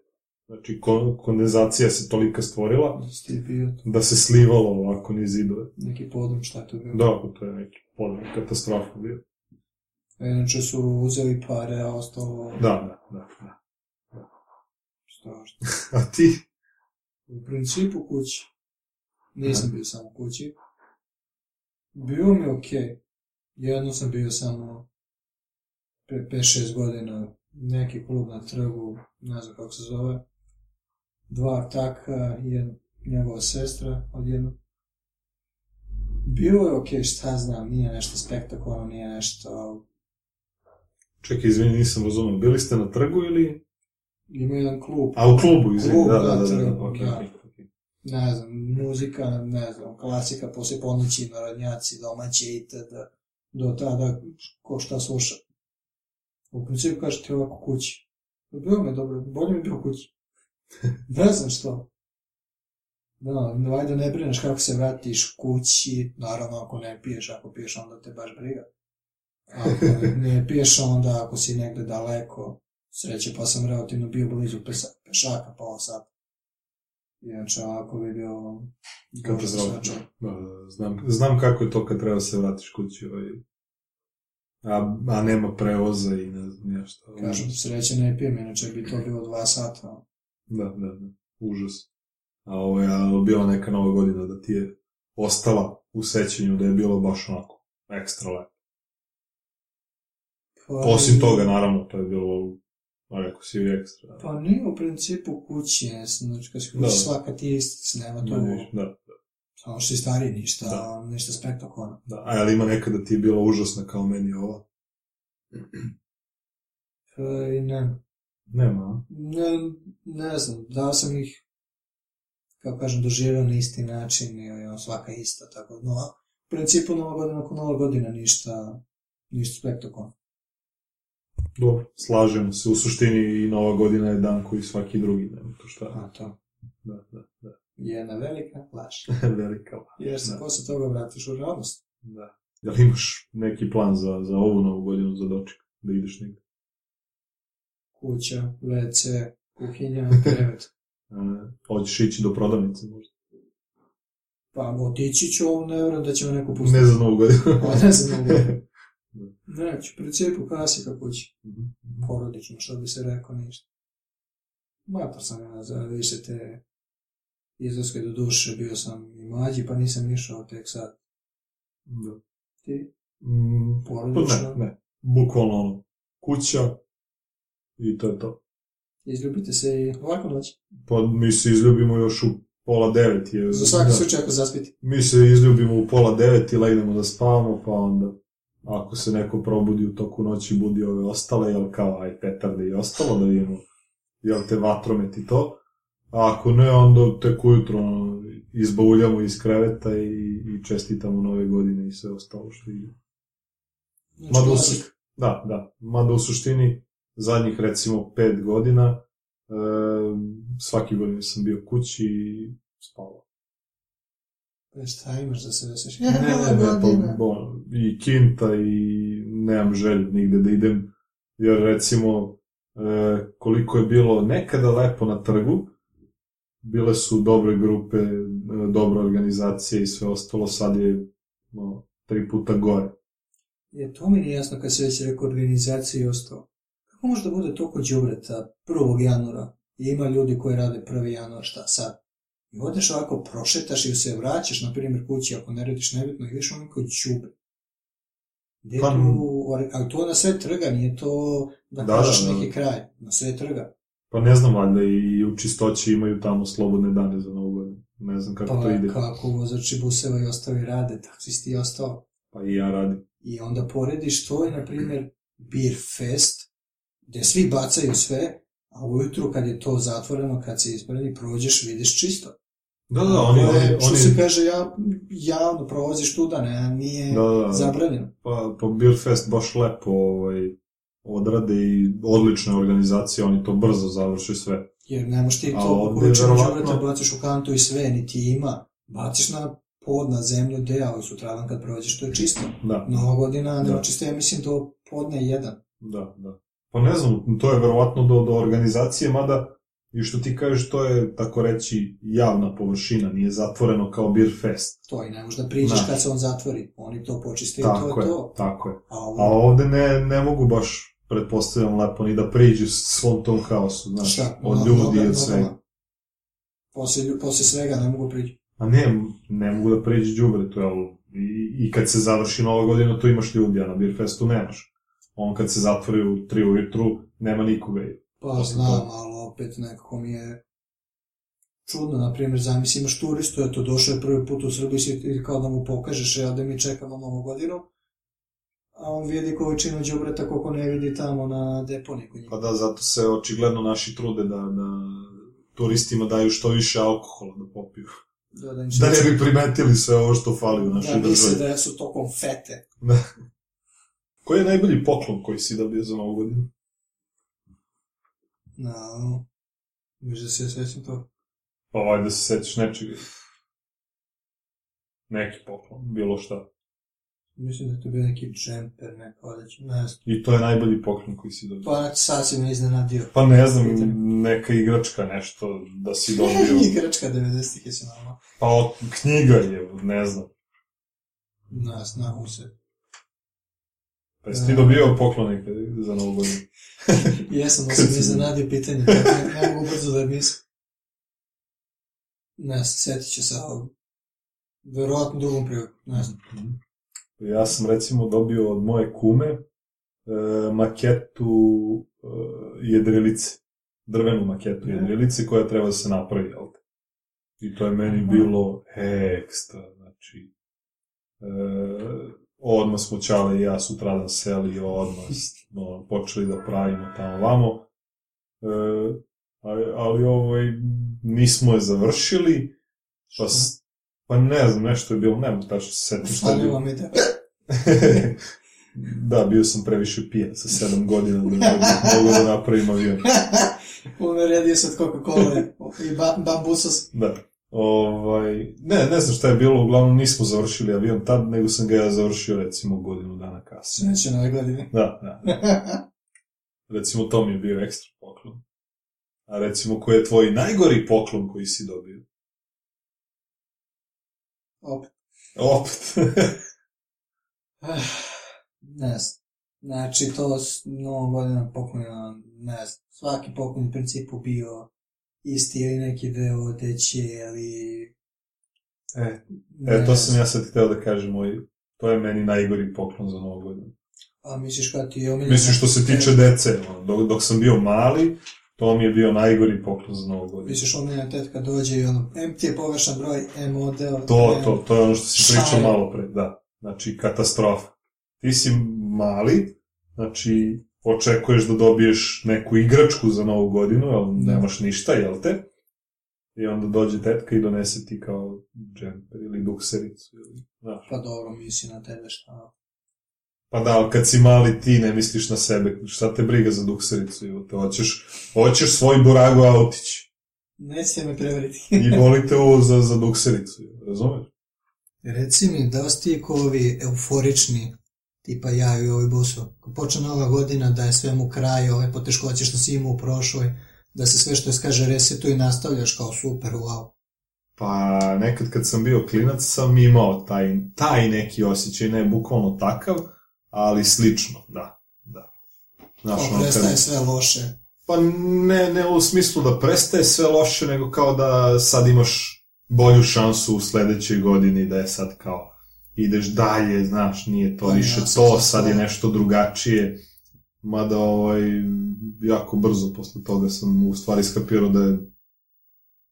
[SPEAKER 1] Znači, kon, kondenzacija se tolika stvorila
[SPEAKER 2] Ti bio
[SPEAKER 1] da se slivalo ovako niz zidove.
[SPEAKER 2] neki podrum, šta je to bilo?
[SPEAKER 1] Da, pa to je neki podrum, katastrofa bio.
[SPEAKER 2] A Inače su uzeli pare, a ostalo...
[SPEAKER 1] Da, da, da. da.
[SPEAKER 2] Strašno.
[SPEAKER 1] A ti?
[SPEAKER 2] U principu kući. Nisam bio samo kući. Bilo mi je okej. Jedno sam bio samo 5-6 godina neki klub na trgu, ne znam kako se zove. Dva taka, jedan njegova sestra odjedno. Bilo je okej, šta ja znam, nije nešto spektakularno, nije nešto, ali
[SPEAKER 1] Čekaj, izvini, nisam razumio. Bili ste na trgu ili...
[SPEAKER 2] ima jedan klub,
[SPEAKER 1] A u klubu, izvini,
[SPEAKER 2] Klub,
[SPEAKER 1] da,
[SPEAKER 2] da,
[SPEAKER 1] da, da, da, da,
[SPEAKER 2] treba,
[SPEAKER 1] ok,
[SPEAKER 2] da.
[SPEAKER 1] ok, ok.
[SPEAKER 2] ne znam, muzika, ne znam, klasika, poslije ponoći, narodnjaci, domaće itd. Do tada ko šta sluša. U principu kaže ti ovako kući. Bilo mi je dobro, bolje mi je bilo kući. ne znam što. Da, valjda ne brineš kako se vratiš kući, naravno ako ne piješ, ako piješ onda te baš briga. Ako ne piješ onda, ako si negde daleko, sreće pa sam relativno bio blizu pesa- pešaka, pa sata Inače, ovako bi bio...
[SPEAKER 1] Kako
[SPEAKER 2] katastrofa.
[SPEAKER 1] znam, znam kako je to kad treba se vratiš kući, ovaj, a, a nema prevoza i ne znam ja šta.
[SPEAKER 2] Kažu da sreće ne pijem, inače bi to bilo dva sata.
[SPEAKER 1] Da, da, da, užas. A ovo je ali bila neka nova godina da ti je ostala u sećanju da je bilo baš onako ekstra lepo.
[SPEAKER 2] Pa,
[SPEAKER 1] Osim toga, naravno, to je bilo, ma rekao si, i ekstra.
[SPEAKER 2] Pa nije u principu kući, ne znam, znači kad si kući
[SPEAKER 1] Da.
[SPEAKER 2] svaka ti je istic, nema to.
[SPEAKER 1] Manje više, da.
[SPEAKER 2] Samo što si stariji, ništa,
[SPEAKER 1] Da.
[SPEAKER 2] ništa spektakularno.
[SPEAKER 1] Da, a ali ima nekada ti je bila užasna kao meni ova?
[SPEAKER 2] E, i ne,
[SPEAKER 1] Nema.
[SPEAKER 2] ne, ne znam, da sam ih, kako kažem, doživio na isti način, ili ono, svaka ista, tako, no, a u principu nova godina, nakon nova godina ništa, ništa spektakularno.
[SPEAKER 1] Dobro, slažemo se. U suštini i Nova godina je dan koji svaki drugi, nema to šta.
[SPEAKER 2] A to
[SPEAKER 1] Da, da, da.
[SPEAKER 2] jedna velika laž.
[SPEAKER 1] Velika laž.
[SPEAKER 2] Jer se
[SPEAKER 1] Da.
[SPEAKER 2] posle toga vratiš u realnost.
[SPEAKER 1] Da. Da li imaš neki plan za, za ovu Novu godinu za doček? Da ideš negdje?
[SPEAKER 2] Kuća, WC, kuhinja, krevet.
[SPEAKER 1] E, hoćeš ići do prodavnice možda?
[SPEAKER 2] Pa otići ću, ali ne vjerujem da će me neko pustiti.
[SPEAKER 1] Ne za Novu godinu.
[SPEAKER 2] Pa, ne znam. mogu. Znači, u principu klasika kući.
[SPEAKER 1] Mhm.
[SPEAKER 2] Porodično, što bi se rekao, ništa. Mator sam ja za više te izlaske do duše, bio sam i mlađi, pa nisam išao tek sad.
[SPEAKER 1] da.
[SPEAKER 2] Ti?
[SPEAKER 1] Mm,
[SPEAKER 2] Porodično.
[SPEAKER 1] Pa ne, ne. Bukvalno ono, kuća i to je to.
[SPEAKER 2] Izljubite se i ovako noć.
[SPEAKER 1] Pa mi se izljubimo još u pola devet. Je,
[SPEAKER 2] Za svaki
[SPEAKER 1] da.
[SPEAKER 2] slučaj ako zaspiti.
[SPEAKER 1] Mi se izljubimo u pola devet i legnemo da spavamo, pa onda ako se neko probudi u toku noći budi ove ostale, jel kao aj petarde i ostalo da vidimo, jel te vatromet i to. A ako ne, onda tek ujutro ono, izbauljamo iz kreveta i, i čestitamo nove godine i sve ostalo što ide.
[SPEAKER 2] Znači,
[SPEAKER 1] Ma da, u
[SPEAKER 2] klasika.
[SPEAKER 1] suštini, da, da. Mada u suštini zadnjih recimo pet godina e, svaki godin sam bio kući i spavao.
[SPEAKER 2] E, Šta imaš da se veseliš?
[SPEAKER 1] Ne, ne, ne, pa, bo- I kinta i nemam želju nigde da idem. Jer recimo e, koliko je bilo nekada lepo na trgu, bile su dobre grupe, e, dobra organizacija i sve ostalo, sad je no, tri puta gore.
[SPEAKER 2] Je, to mi nije jasno kad se već rekao organizacija i ostalo. Kako može da bude toliko đubreta 1. januara i ima ljudi koji rade 1. januar, šta sad? I odeš ovako, prošetaš i se vraćaš, na primjer, kući ako ne radiš nebitno i vidiš onako đubre. Gde
[SPEAKER 1] Pa,
[SPEAKER 2] tu, ori- ali to na sve trga, nije to da,
[SPEAKER 1] Da,
[SPEAKER 2] kažeš
[SPEAKER 1] da, da.
[SPEAKER 2] neki kraj, na sve trga.
[SPEAKER 1] Pa ne znam, valjda i u čistoći imaju tamo slobodne dane za novu godinu. Ne znam kako
[SPEAKER 2] Pa
[SPEAKER 1] to ide.
[SPEAKER 2] kako vozači buseva i ostavi rade, taksisti i ostao.
[SPEAKER 1] Pa i ja radim.
[SPEAKER 2] I onda porediš to i, na primjer, Beer Fest, gdje svi bacaju sve, a ujutru kad je to zatvoreno, kad se ispredi, prođeš, vidiš čisto.
[SPEAKER 1] Da, da, oni,
[SPEAKER 2] To je,
[SPEAKER 1] oni,
[SPEAKER 2] pa, što
[SPEAKER 1] oni
[SPEAKER 2] se kaže, ja, javno prolaziš tu da ne, nije
[SPEAKER 1] da, da, da.
[SPEAKER 2] zabranjeno.
[SPEAKER 1] pa, pa Beer Fest baš lepo ovaj, odrade i odlična je organizacija, oni to brzo završe sve.
[SPEAKER 2] Jer ne možeš ti
[SPEAKER 1] A
[SPEAKER 2] to
[SPEAKER 1] ovdje
[SPEAKER 2] količinu
[SPEAKER 1] verovatno-
[SPEAKER 2] žureta baciš u kantu i sve, niti ima. Baciš na pod, na zemlju, gdje, ali sutradan kad prođeš, to je čisto.
[SPEAKER 1] Da,
[SPEAKER 2] Nova godina, ne
[SPEAKER 1] Da.
[SPEAKER 2] očiste, ja mislim, to podne jedan.
[SPEAKER 1] da, da. Pa ne znam, to je verovatno do, do organizacije, mada i što ti kažeš, to je, tako reći, javna površina, nije zatvoreno kao Beer Fest.
[SPEAKER 2] To i ne možeš da priđeš
[SPEAKER 1] Da.
[SPEAKER 2] kad se on zatvori. Oni to počiste i E, to
[SPEAKER 1] tako
[SPEAKER 2] je
[SPEAKER 1] je,
[SPEAKER 2] to.
[SPEAKER 1] tako je.
[SPEAKER 2] A ovo-
[SPEAKER 1] A ovde ne, ne mogu baš, pretpostavljam, lepo ni da priđu svom tom haosu, znaš,
[SPEAKER 2] Šta?
[SPEAKER 1] od
[SPEAKER 2] Ono,
[SPEAKER 1] ljudi i
[SPEAKER 2] noga-
[SPEAKER 1] od svega.
[SPEAKER 2] nogama. Poslije, lju- poslije svega ne mogu prići.
[SPEAKER 1] A ne, ne mogu da pređe džubre, to je ovo. I, I kad se završi nova godina, tu imaš ljudi, a na Beer Festu nemaš. On kad se zatvori u tri ujutru, nema nikoga.
[SPEAKER 2] Pa
[SPEAKER 1] Poslije
[SPEAKER 2] znam,
[SPEAKER 1] toga.
[SPEAKER 2] ali opet nekako mi je čudno, na primjer, zamisli imaš turistu, eto došao je prvi put u Srbiju si- i kao da mu pokažeš, ja da mi čekamo novu godinu, a on vidi količinu đubreta koliko ne vidi tamo na deponiji kod njih.
[SPEAKER 1] Pa da, zato se očigledno naši trude da, da turistima daju što više alkohola da popiju.
[SPEAKER 2] Da, da im
[SPEAKER 1] Da
[SPEAKER 2] se-
[SPEAKER 1] ne bi primetili sve ovo što fali u našoj
[SPEAKER 2] da misle
[SPEAKER 1] državi.
[SPEAKER 2] da su to konfete.
[SPEAKER 1] Koji je najbolji poklon koji si dobio za novu godinu?
[SPEAKER 2] Na, ono, možda se sjećam to.
[SPEAKER 1] Pa valjda se sećaš nečega. Neki poklon, bilo šta.
[SPEAKER 2] Mislim da je to bio neki džemper, neka odeća, ne znam.
[SPEAKER 1] I to je najbolji poklon koji si dobio.
[SPEAKER 2] Pa onak sad si me iznenadio.
[SPEAKER 1] Pa ne znam,
[SPEAKER 2] Pitam.
[SPEAKER 1] neka igračka nešto da si dobio.
[SPEAKER 2] Igračka 90-ih je si normalno.
[SPEAKER 1] Pa o- knjiga je, ne znam.
[SPEAKER 2] Ne znam, se.
[SPEAKER 1] Pa jesi ti dobio poklon nekad za novu godinu?
[SPEAKER 2] Jesam, ali
[SPEAKER 1] Kad
[SPEAKER 2] sam
[SPEAKER 1] si-
[SPEAKER 2] iznenadio pitanje, tako ne, ne mogu brzo da mislim. Ne znam, setit ću se ovog. Verovatno drugom priliku, ne znam.
[SPEAKER 1] Ja sam recimo dobio od moje kume e, maketu e, jedrilice, drvenu maketu
[SPEAKER 2] Ne.
[SPEAKER 1] jedrilice koja treba da se napravi, jel te? I to je meni bilo ekstra, znači, e, odmah smo Ćale i ja sutradan seli, odmah smo počeli da pravimo tamo vamo, e, ali, ali ovaj, nismo je završili, pa, s- pa ne znam, nešto je bilo, ne mogu tačno se setim šta je bilo.
[SPEAKER 2] Falilo mi da...
[SPEAKER 1] da, bio sam previše pijan sa sedam godina da bi mogu da napravim avion.
[SPEAKER 2] Umeredio se od Coca-Cola i ba, bambusos.
[SPEAKER 1] Da. Ovaj, ne, ne znam šta je bilo, uglavnom nismo završili avion tad, nego sam ga ja završio recimo godinu dana kasnije.
[SPEAKER 2] Sreće na ove godine.
[SPEAKER 1] Da, da. Recimo to mi je bio ekstra poklon. A recimo koji je tvoj najgori poklon koji si dobio?
[SPEAKER 2] Opet.
[SPEAKER 1] Opet.
[SPEAKER 2] Ah, ne znam. Znači, to s novom godinom poklonila, ne znam. Svaki poklon u principu bio isti ili neki deo odeće ili...
[SPEAKER 1] E,
[SPEAKER 2] ne
[SPEAKER 1] e, to
[SPEAKER 2] znam.
[SPEAKER 1] sam ja sad hteo da kažem, moj, to je meni najgori poklon za novu godinu.
[SPEAKER 2] A misliš kada ti je omiljena?
[SPEAKER 1] Mislim što se tiče dece, ono, dok, dok sam bio mali, to mi je bio najgori poklon za novu godinu.
[SPEAKER 2] Misliš omiljena tetka dođe i ono, M ti je pogrešan broj, M odeo...
[SPEAKER 1] To,
[SPEAKER 2] M-
[SPEAKER 1] to, to je ono što si pričao
[SPEAKER 2] Šalje.
[SPEAKER 1] malo pre, da. Znači, katastrofa. Ti si mali, znači, očekuješ da dobiješ neku igračku za novu godinu, ali
[SPEAKER 2] Da.
[SPEAKER 1] nemaš ništa, jel te? I onda dođe tetka i donese ti kao džemper ili duksericu. Ili, znaš.
[SPEAKER 2] Pa dobro, misli na tebe šta.
[SPEAKER 1] Pa da, ali kad si mali ti ne misliš na sebe, šta te briga za duksericu, jel te? Hoćeš, hoćeš svoj burago autić.
[SPEAKER 2] Nećete me prevariti.
[SPEAKER 1] I volite ovo za, za duksericu, razumeš?
[SPEAKER 2] Reci mi, da li ste iko ovi euforični, tipa ja i ovi busu, Ko počne nova godina da je svemu kraj, ove poteškoće što si imao u prošloj, da se sve što je skaže resetuje i nastavljaš kao super, wow.
[SPEAKER 1] Pa nekad kad sam bio klinac sam imao taj, taj neki osjećaj, ne bukvalno takav, ali slično, da. da. Znaš,
[SPEAKER 2] Kao
[SPEAKER 1] ono,
[SPEAKER 2] Pa prestaje
[SPEAKER 1] kad,
[SPEAKER 2] sve loše.
[SPEAKER 1] pa ne, ne u smislu da prestaje sve loše, nego kao da sad imaš bolju šansu u sledećoj godini, da je sad kao ideš dalje, znaš, nije to
[SPEAKER 2] Pa
[SPEAKER 1] više
[SPEAKER 2] jasno,
[SPEAKER 1] to, sad je
[SPEAKER 2] da.
[SPEAKER 1] nešto drugačije. Mada ovaj, jako brzo posle toga sam u stvari skapirao da je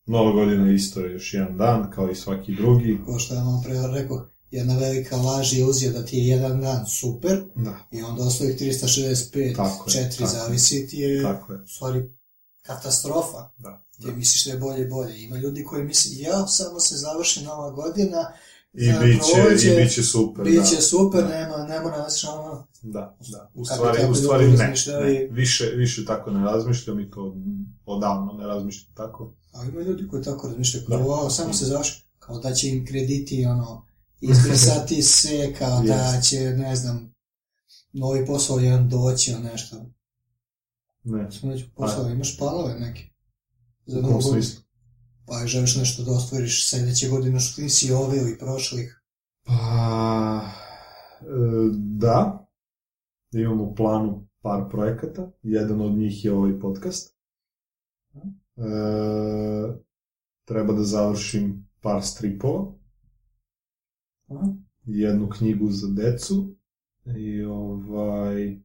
[SPEAKER 1] Nova godina isto je još jedan dan, kao i svaki drugi.
[SPEAKER 2] Kao što je malo pre rekao, jedna velika laž i iluzija da ti je jedan dan super
[SPEAKER 1] Da,
[SPEAKER 2] i onda ostalih 365,
[SPEAKER 1] Tako je,
[SPEAKER 2] 4
[SPEAKER 1] tako je.
[SPEAKER 2] zavisi ti je
[SPEAKER 1] tako je.
[SPEAKER 2] u stvari katastrofa.
[SPEAKER 1] Da.
[SPEAKER 2] Ti misliš da je bolje i bolje. Ima ljudi koji misle, ja samo se završi nova godina,
[SPEAKER 1] I,
[SPEAKER 2] da
[SPEAKER 1] biće,
[SPEAKER 2] prođe,
[SPEAKER 1] I biće super,
[SPEAKER 2] bit će super,
[SPEAKER 1] Da.
[SPEAKER 2] nema, nema nas ono.
[SPEAKER 1] da. da. U
[SPEAKER 2] Kako
[SPEAKER 1] stvari,
[SPEAKER 2] tako
[SPEAKER 1] u stvari
[SPEAKER 2] ljudi
[SPEAKER 1] ne, ne.
[SPEAKER 2] razmišljaju?
[SPEAKER 1] Više, više tako ne razmišljam i to odavno ne razmišljam tako.
[SPEAKER 2] Ali ima ljudi koji tako razmišljaju, kao,
[SPEAKER 1] Da. Mm.
[SPEAKER 2] "Wow, samo se završi, kao da će im krediti, ono, izbrisati se, kao da će, ne znam, novi posao jedan doći, ili nešto.
[SPEAKER 1] Ne.
[SPEAKER 2] Smo već posao, imaš planove neke?
[SPEAKER 1] Pa
[SPEAKER 2] Za
[SPEAKER 1] U
[SPEAKER 2] novu
[SPEAKER 1] kom
[SPEAKER 2] godinu?
[SPEAKER 1] smislu?
[SPEAKER 2] Pa želiš nešto da ostvariš sljedeće godine što nisi ove ili prošlih.
[SPEAKER 1] Pa, e, da. Imam u planu par projekata. Jedan od njih je ovaj podcast. E, treba da završim par stripova.
[SPEAKER 2] Aha.
[SPEAKER 1] jednu knjigu za decu i ovaj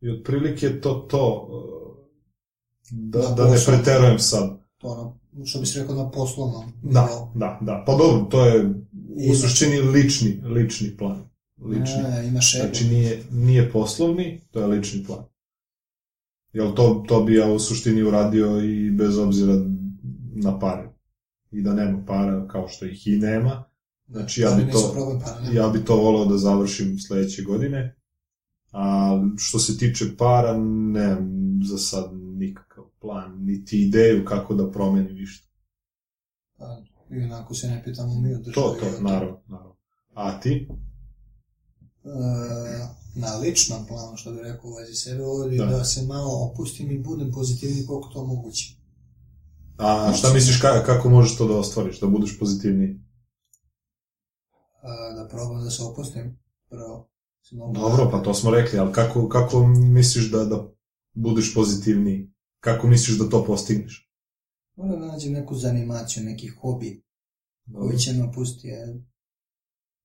[SPEAKER 1] i otprilike to to e, da,
[SPEAKER 2] Na
[SPEAKER 1] da ne
[SPEAKER 2] posao.
[SPEAKER 1] preterujem sad
[SPEAKER 2] To ono, što bi se rekao na poslovnom. nivou.
[SPEAKER 1] da, da, da, pa dobro, to je u
[SPEAKER 2] Ima.
[SPEAKER 1] suštini lični, lični plan lični,
[SPEAKER 2] E, imaš ego.
[SPEAKER 1] znači nije, nije poslovni to je lični plan jel to, to bi ja u suštini uradio i bez obzira na pare i da nema para kao što ih i nema znači, ja
[SPEAKER 2] Pare
[SPEAKER 1] bi
[SPEAKER 2] nisu
[SPEAKER 1] to-
[SPEAKER 2] problem, pare nema.
[SPEAKER 1] ja bi to volao da završim sledeće godine. A što se tiče para, nemam za sad nikakav plan, niti ideju kako da promenim ništa.
[SPEAKER 2] Pa, I onako se ne pitamo mi o
[SPEAKER 1] To,
[SPEAKER 2] državi.
[SPEAKER 1] to, naravno, naravno. A ti?
[SPEAKER 2] e, na ličnom planu, što bi rekao u vezi sebe, ovdje
[SPEAKER 1] Da.
[SPEAKER 2] da. se malo opustim i budem pozitivni koliko to moguće.
[SPEAKER 1] A šta misliš ka- kako možeš to da ostvariš, da budeš pozitivniji?
[SPEAKER 2] E, da probam da se opustim, prvo. se mogu-
[SPEAKER 1] Dobro, pa to smo rekli, ali kako, kako misliš da, da budeš pozitivniji? Kako misliš da to postigneš?
[SPEAKER 2] Moram da nađem neku zanimaciju, neki hobi koji će me opustiti. jer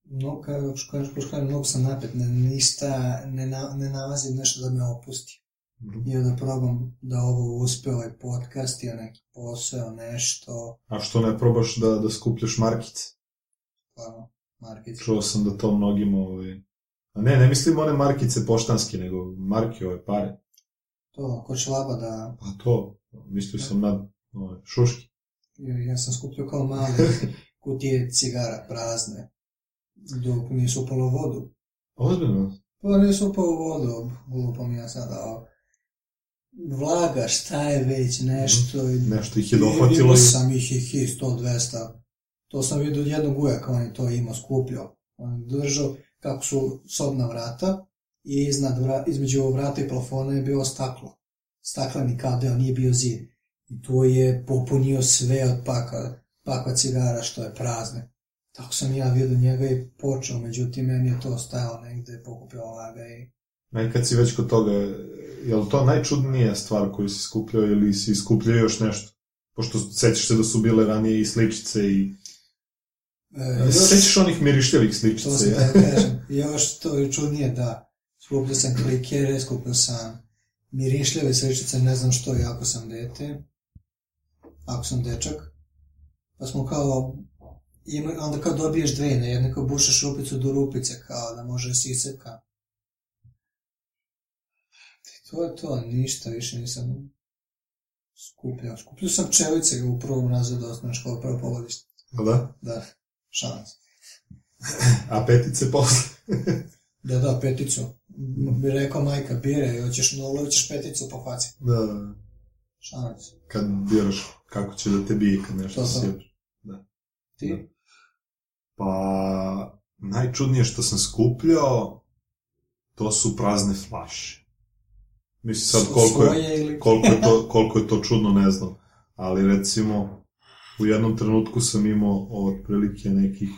[SPEAKER 2] Mnogo, kao što kažem, kao što kažem, mnogo sam napet, ne, ništa, ne, na, ne nalazim nešto da me opusti.
[SPEAKER 1] Mhm.
[SPEAKER 2] I onda probam da ovo uspe, ovaj podcast ili neki posao, nešto,
[SPEAKER 1] A što ne probaš da, da skupljaš markice?
[SPEAKER 2] pa market.
[SPEAKER 1] Čuo sam da to mnogim ovaj... A ne, ne mislim one markice poštanske, nego marke ove pare.
[SPEAKER 2] To, ko šlaba da
[SPEAKER 1] Pa to, mislio sam na ovaj, ove, šuški.
[SPEAKER 2] Ja sam skupio kao male kutije cigara prazne, dok nisu upalo u vodu.
[SPEAKER 1] Ozbiljno?
[SPEAKER 2] Pa nisu upalo u vodu, glupom ja sad, ali vlaga, šta je već, nešto. i-
[SPEAKER 1] Nešto ih je dohvatilo i...
[SPEAKER 2] i... sam ih i hi, 100, 200. To sam vidio od jednog ujaka, on je to imao skupljao. On je držao kako su sobna vrata i iznad vra- između vrata i plafona je bio staklo. Stakleni kadeo, nije bio zid. I to je popunio sve od paka, pakva cigara što je prazne. Tako sam ja vidio njega i počeo, međutim meni je to stajalo negde, pokupio ovoga i
[SPEAKER 1] E, kad si već kod toga, je li to najčudnija stvar koju si skupljao ili si skupljao još nešto? Pošto sećaš se da su bile ranije i sličice i...
[SPEAKER 2] e, još-
[SPEAKER 1] Sećaš onih mirišljavih
[SPEAKER 2] To sam
[SPEAKER 1] sličice, ja?
[SPEAKER 2] da kažem. Još to je čudnije, da. Skupio sam klikere, skupio sam mirišljave srećice, ne znam što, je, ako sam dete, ako sam dečak. Pa smo kao, ima, onda kao dobiješ dve, na jedne kao bušaš rupicu do rupice, kao da može siseka. I to je to, ništa više nisam skupljao. Skupljao sam čelice u prvom razredu osnovne škole, prvo povodište.
[SPEAKER 1] Da?
[SPEAKER 2] Da, šans.
[SPEAKER 1] A petice posle.
[SPEAKER 2] Da, da, peticu. M- Bi rekao majka, bire, hoćeš nulu, hoćeš peticu po faci.
[SPEAKER 1] Da,
[SPEAKER 2] Šanac.
[SPEAKER 1] kad biraš kako će da te bije kad nešto
[SPEAKER 2] To sam.
[SPEAKER 1] sjepaš.
[SPEAKER 2] Ti?
[SPEAKER 1] Pa, najčudnije što sam skupljao, to su prazne flaše. Mislim sad
[SPEAKER 2] Svo-
[SPEAKER 1] koliko je,
[SPEAKER 2] svoje ili...
[SPEAKER 1] koliko je, to, koliko je to čudno, ne znam. Ali recimo, u jednom trenutku sam imao otprilike nekih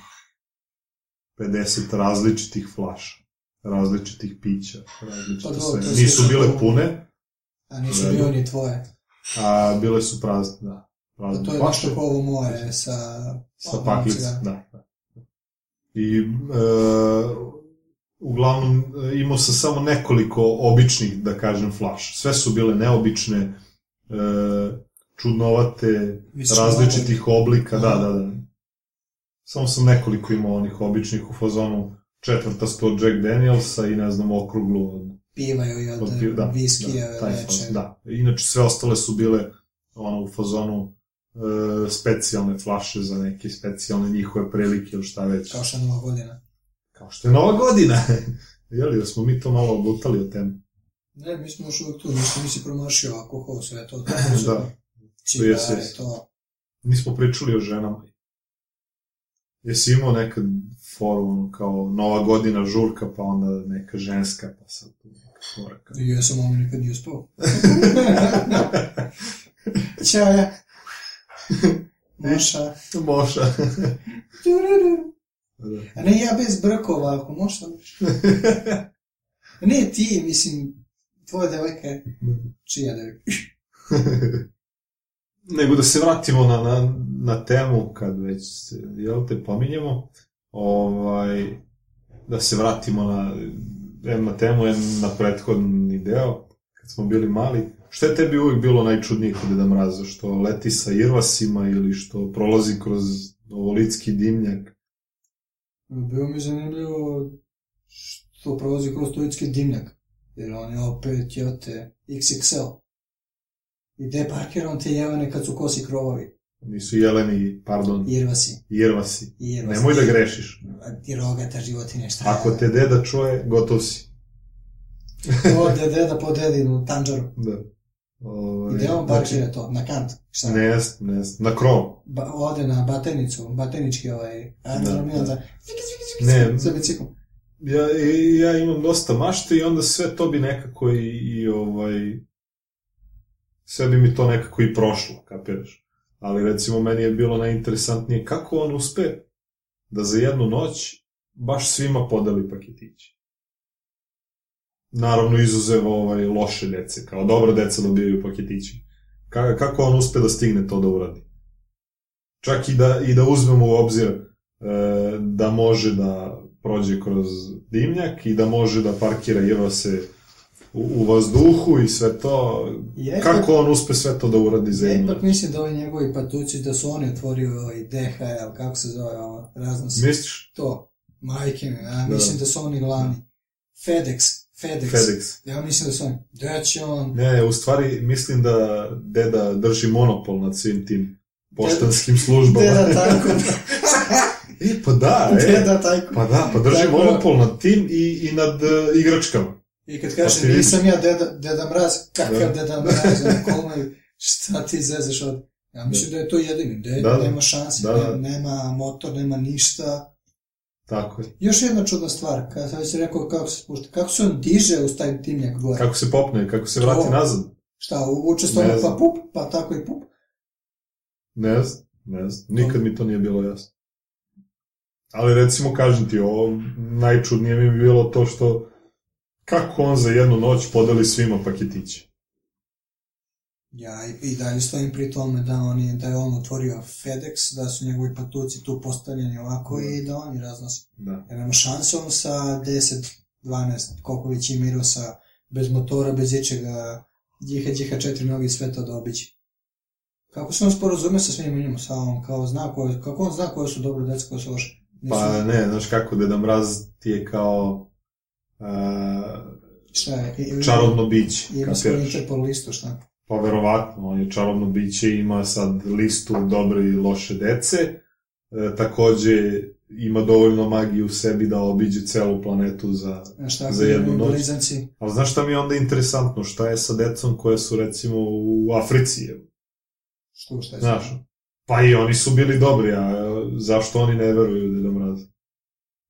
[SPEAKER 1] 50 različitih flaša, različitih pića,
[SPEAKER 2] Pa
[SPEAKER 1] različite
[SPEAKER 2] dobro,
[SPEAKER 1] sve.
[SPEAKER 2] to je
[SPEAKER 1] Nisu
[SPEAKER 2] slično
[SPEAKER 1] bile
[SPEAKER 2] kao-
[SPEAKER 1] pune,
[SPEAKER 2] A nisu
[SPEAKER 1] Dobro.
[SPEAKER 2] bio ni tvoje.
[SPEAKER 1] a bile su prazne, da.
[SPEAKER 2] A
[SPEAKER 1] Prazne
[SPEAKER 2] Pa to je
[SPEAKER 1] flaše.
[SPEAKER 2] nešto pa kao ovo more sa...
[SPEAKER 1] Sa
[SPEAKER 2] cigarama.
[SPEAKER 1] paklicom, da. I e, uglavnom e, imao sam samo nekoliko običnih, da kažem, flaš. Sve su bile neobične, e, čudnovate,
[SPEAKER 2] Mislim,
[SPEAKER 1] različitih oblika, da,
[SPEAKER 2] Aha.
[SPEAKER 1] da, da. Samo sam nekoliko imao onih običnih u fazonu četvrtastu od Jack Danielsa i ne znam, okruglu od
[SPEAKER 2] Pivaju i od
[SPEAKER 1] od piv- da,
[SPEAKER 2] viskija,
[SPEAKER 1] da,
[SPEAKER 2] da,
[SPEAKER 1] taj
[SPEAKER 2] nečeg.
[SPEAKER 1] fazon, da. Inače sve ostale su bile ono u fazonu e, specijalne flaše za neke specijalne njihove prilike ili šta već.
[SPEAKER 2] Kao što je nova godina.
[SPEAKER 1] Kao što je Nova godina. Jeli, jer smo mi to malo odlutali od teme.
[SPEAKER 2] Ne, mi smo još uvijek tu, ništa nisi promašio alkohol, sve to. to su
[SPEAKER 1] Da.
[SPEAKER 2] Cigare,
[SPEAKER 1] To jest, jest.
[SPEAKER 2] to.
[SPEAKER 1] Nismo pričali o ženama. Jesi imao nekad foru ono, kao Nova godina žurka pa onda neka ženska pa sad tu neka fora kao-
[SPEAKER 2] I ja sam ovo nikad nije uspao. Ćao ja. Moša.
[SPEAKER 1] Moša.
[SPEAKER 2] Tururu.
[SPEAKER 1] Da.
[SPEAKER 2] A Pa ne ja bez brkova, ako možeš samo. ne ti, mislim, tvoja devojka je... Čija devojka?
[SPEAKER 1] Nego da se vratimo na, na, na temu, kad već se, jel te pominjemo, ovaj, da se vratimo na, em na temu, em na prethodni deo, kad smo bili mali. Što je tebi uvijek bilo najčudnije kod Deda Mraza? Što leti sa irvasima ili što prolazi kroz ovolitski dimnjak?
[SPEAKER 2] Pa, Bilo mi zanimljivo što prolazi kroz stoicki dimnjak. Jer on je opet, jel te, XXL. I gde parkira on te jevane kad su kosi krovovi?
[SPEAKER 1] Nisu jeleni, pardon,
[SPEAKER 2] Irvasi.
[SPEAKER 1] irvasi.
[SPEAKER 2] Irvasi.
[SPEAKER 1] Nemoj da grešiš.
[SPEAKER 2] A Ti rogata životinje, šta
[SPEAKER 1] Ako te deda čuje, gotov si.
[SPEAKER 2] Ode deda po dedinu, tanđaru.
[SPEAKER 1] Da. Ovaj,
[SPEAKER 2] Gde
[SPEAKER 1] znači,
[SPEAKER 2] on parkira to? Na kant? Šta?
[SPEAKER 1] Ne, jest, ne, jest. na krov.
[SPEAKER 2] ba, ode na batenicu, batenički ovaj aerodrom
[SPEAKER 1] Da,
[SPEAKER 2] i onda
[SPEAKER 1] da.
[SPEAKER 2] zviki, zviki,
[SPEAKER 1] Ne.
[SPEAKER 2] sa biciklom.
[SPEAKER 1] Ja, i- ja imam dosta mašte i onda sve to bi nekako i, i ovaj... Sve bi mi to nekako i prošlo, kapiraš? Ali recimo meni je bilo najinteresantnije kako on uspe da za jednu noć baš svima podeli paketići. Naravno izuzev ovaj, loše dece, kao dobro deca dobijaju paketići. Ka, kako on uspe da stigne to da uradi? Čak i da, i da uzmemo u obzir e, da može da prođe kroz dimnjak i da može da parkira jeva se u, u vazduhu i sve to.
[SPEAKER 2] Ja ipak-
[SPEAKER 1] Kako on uspe sve to da uradi za
[SPEAKER 2] ja
[SPEAKER 1] jednu
[SPEAKER 2] ipak mislim da ovi njegovi patući, da su oni otvorili ovaj DHL, kako se zove ovo, razno se
[SPEAKER 1] Misliš?
[SPEAKER 2] to, majke mi, ja
[SPEAKER 1] Da.
[SPEAKER 2] mislim da su oni glavni. FedEx, FedEx,
[SPEAKER 1] FedEx.
[SPEAKER 2] ja mislim da su oni, da će on,
[SPEAKER 1] Ne, u stvari mislim da deda drži monopol nad svim tim poštanskim službama.
[SPEAKER 2] deda tako,
[SPEAKER 1] E, pa da, e.
[SPEAKER 2] deda tako.
[SPEAKER 1] Pa da, pa drži
[SPEAKER 2] Tako-
[SPEAKER 1] monopol nad tim i, i nad e, igračkama.
[SPEAKER 2] I kad
[SPEAKER 1] Pa ti
[SPEAKER 2] kaže,
[SPEAKER 1] vidi.
[SPEAKER 2] nisam ja deda, deda mraz, kakav
[SPEAKER 1] Da.
[SPEAKER 2] deda mraz, ono kolmaju, šta ti zezeš od... Ja mislim da je to jedini, deda,
[SPEAKER 1] Da, da.
[SPEAKER 2] nema šanse,
[SPEAKER 1] Da, da.
[SPEAKER 2] ne- nema motor, nema ništa.
[SPEAKER 1] Tako je.
[SPEAKER 2] Još jedna čudna stvar, kada sam već rekao kako se spušta, kako se on diže uz taj dimnjak gore?
[SPEAKER 1] Kako se popne, kako se vrati
[SPEAKER 2] To.
[SPEAKER 1] nazad.
[SPEAKER 2] Šta, uvuče se
[SPEAKER 1] Ne
[SPEAKER 2] ono pa
[SPEAKER 1] znam.
[SPEAKER 2] pup, pa tako i pup?
[SPEAKER 1] Ne znam, ne znam. Nikad mi to nije bilo jasno. Ali recimo, kažem ti, ovo najčudnije mi je bilo to što kako on za jednu noć podeli svima paketiće.
[SPEAKER 2] Ja i, i dalje stojim pri tome da, on je, da je on otvorio FedEx, da su njegovi patuci tu postavljeni ovako i da oni raznose.
[SPEAKER 1] Da.
[SPEAKER 2] Ja nema šansom sa 10, 12, koliko već ima igrao sa, bez motora, bez ičega, djiha, djiha, četiri nogi, sve to dobići. Kako se on sporazume sa svim njima, sa on, kao zna koje, kako on zna koje su dobro deca, koje su loše? Nisu,
[SPEAKER 1] Pa ne, znaš kako, Deda Mraz ti je kao uh,
[SPEAKER 2] šta je, i- i-
[SPEAKER 1] čarobno biće,
[SPEAKER 2] Ima svoj
[SPEAKER 1] kapiraš?
[SPEAKER 2] Interpol listu, šta?
[SPEAKER 1] Pa verovatno, on je čarobno biće, ima sad listu dobre i loše dece, e, takođe ima dovoljno magije u sebi da obiđe celu planetu za...
[SPEAKER 2] Znaš, šta,
[SPEAKER 1] Za jednu
[SPEAKER 2] imaju
[SPEAKER 1] noć.
[SPEAKER 2] Blizanci,
[SPEAKER 1] Ali znaš šta mi je onda interesantno, šta je sa decom koja su recimo u Africi, evo,
[SPEAKER 2] što, šta je
[SPEAKER 1] znaš? Pa i oni su bili dobri, a e, zašto oni ne veruju Deda Mrazu?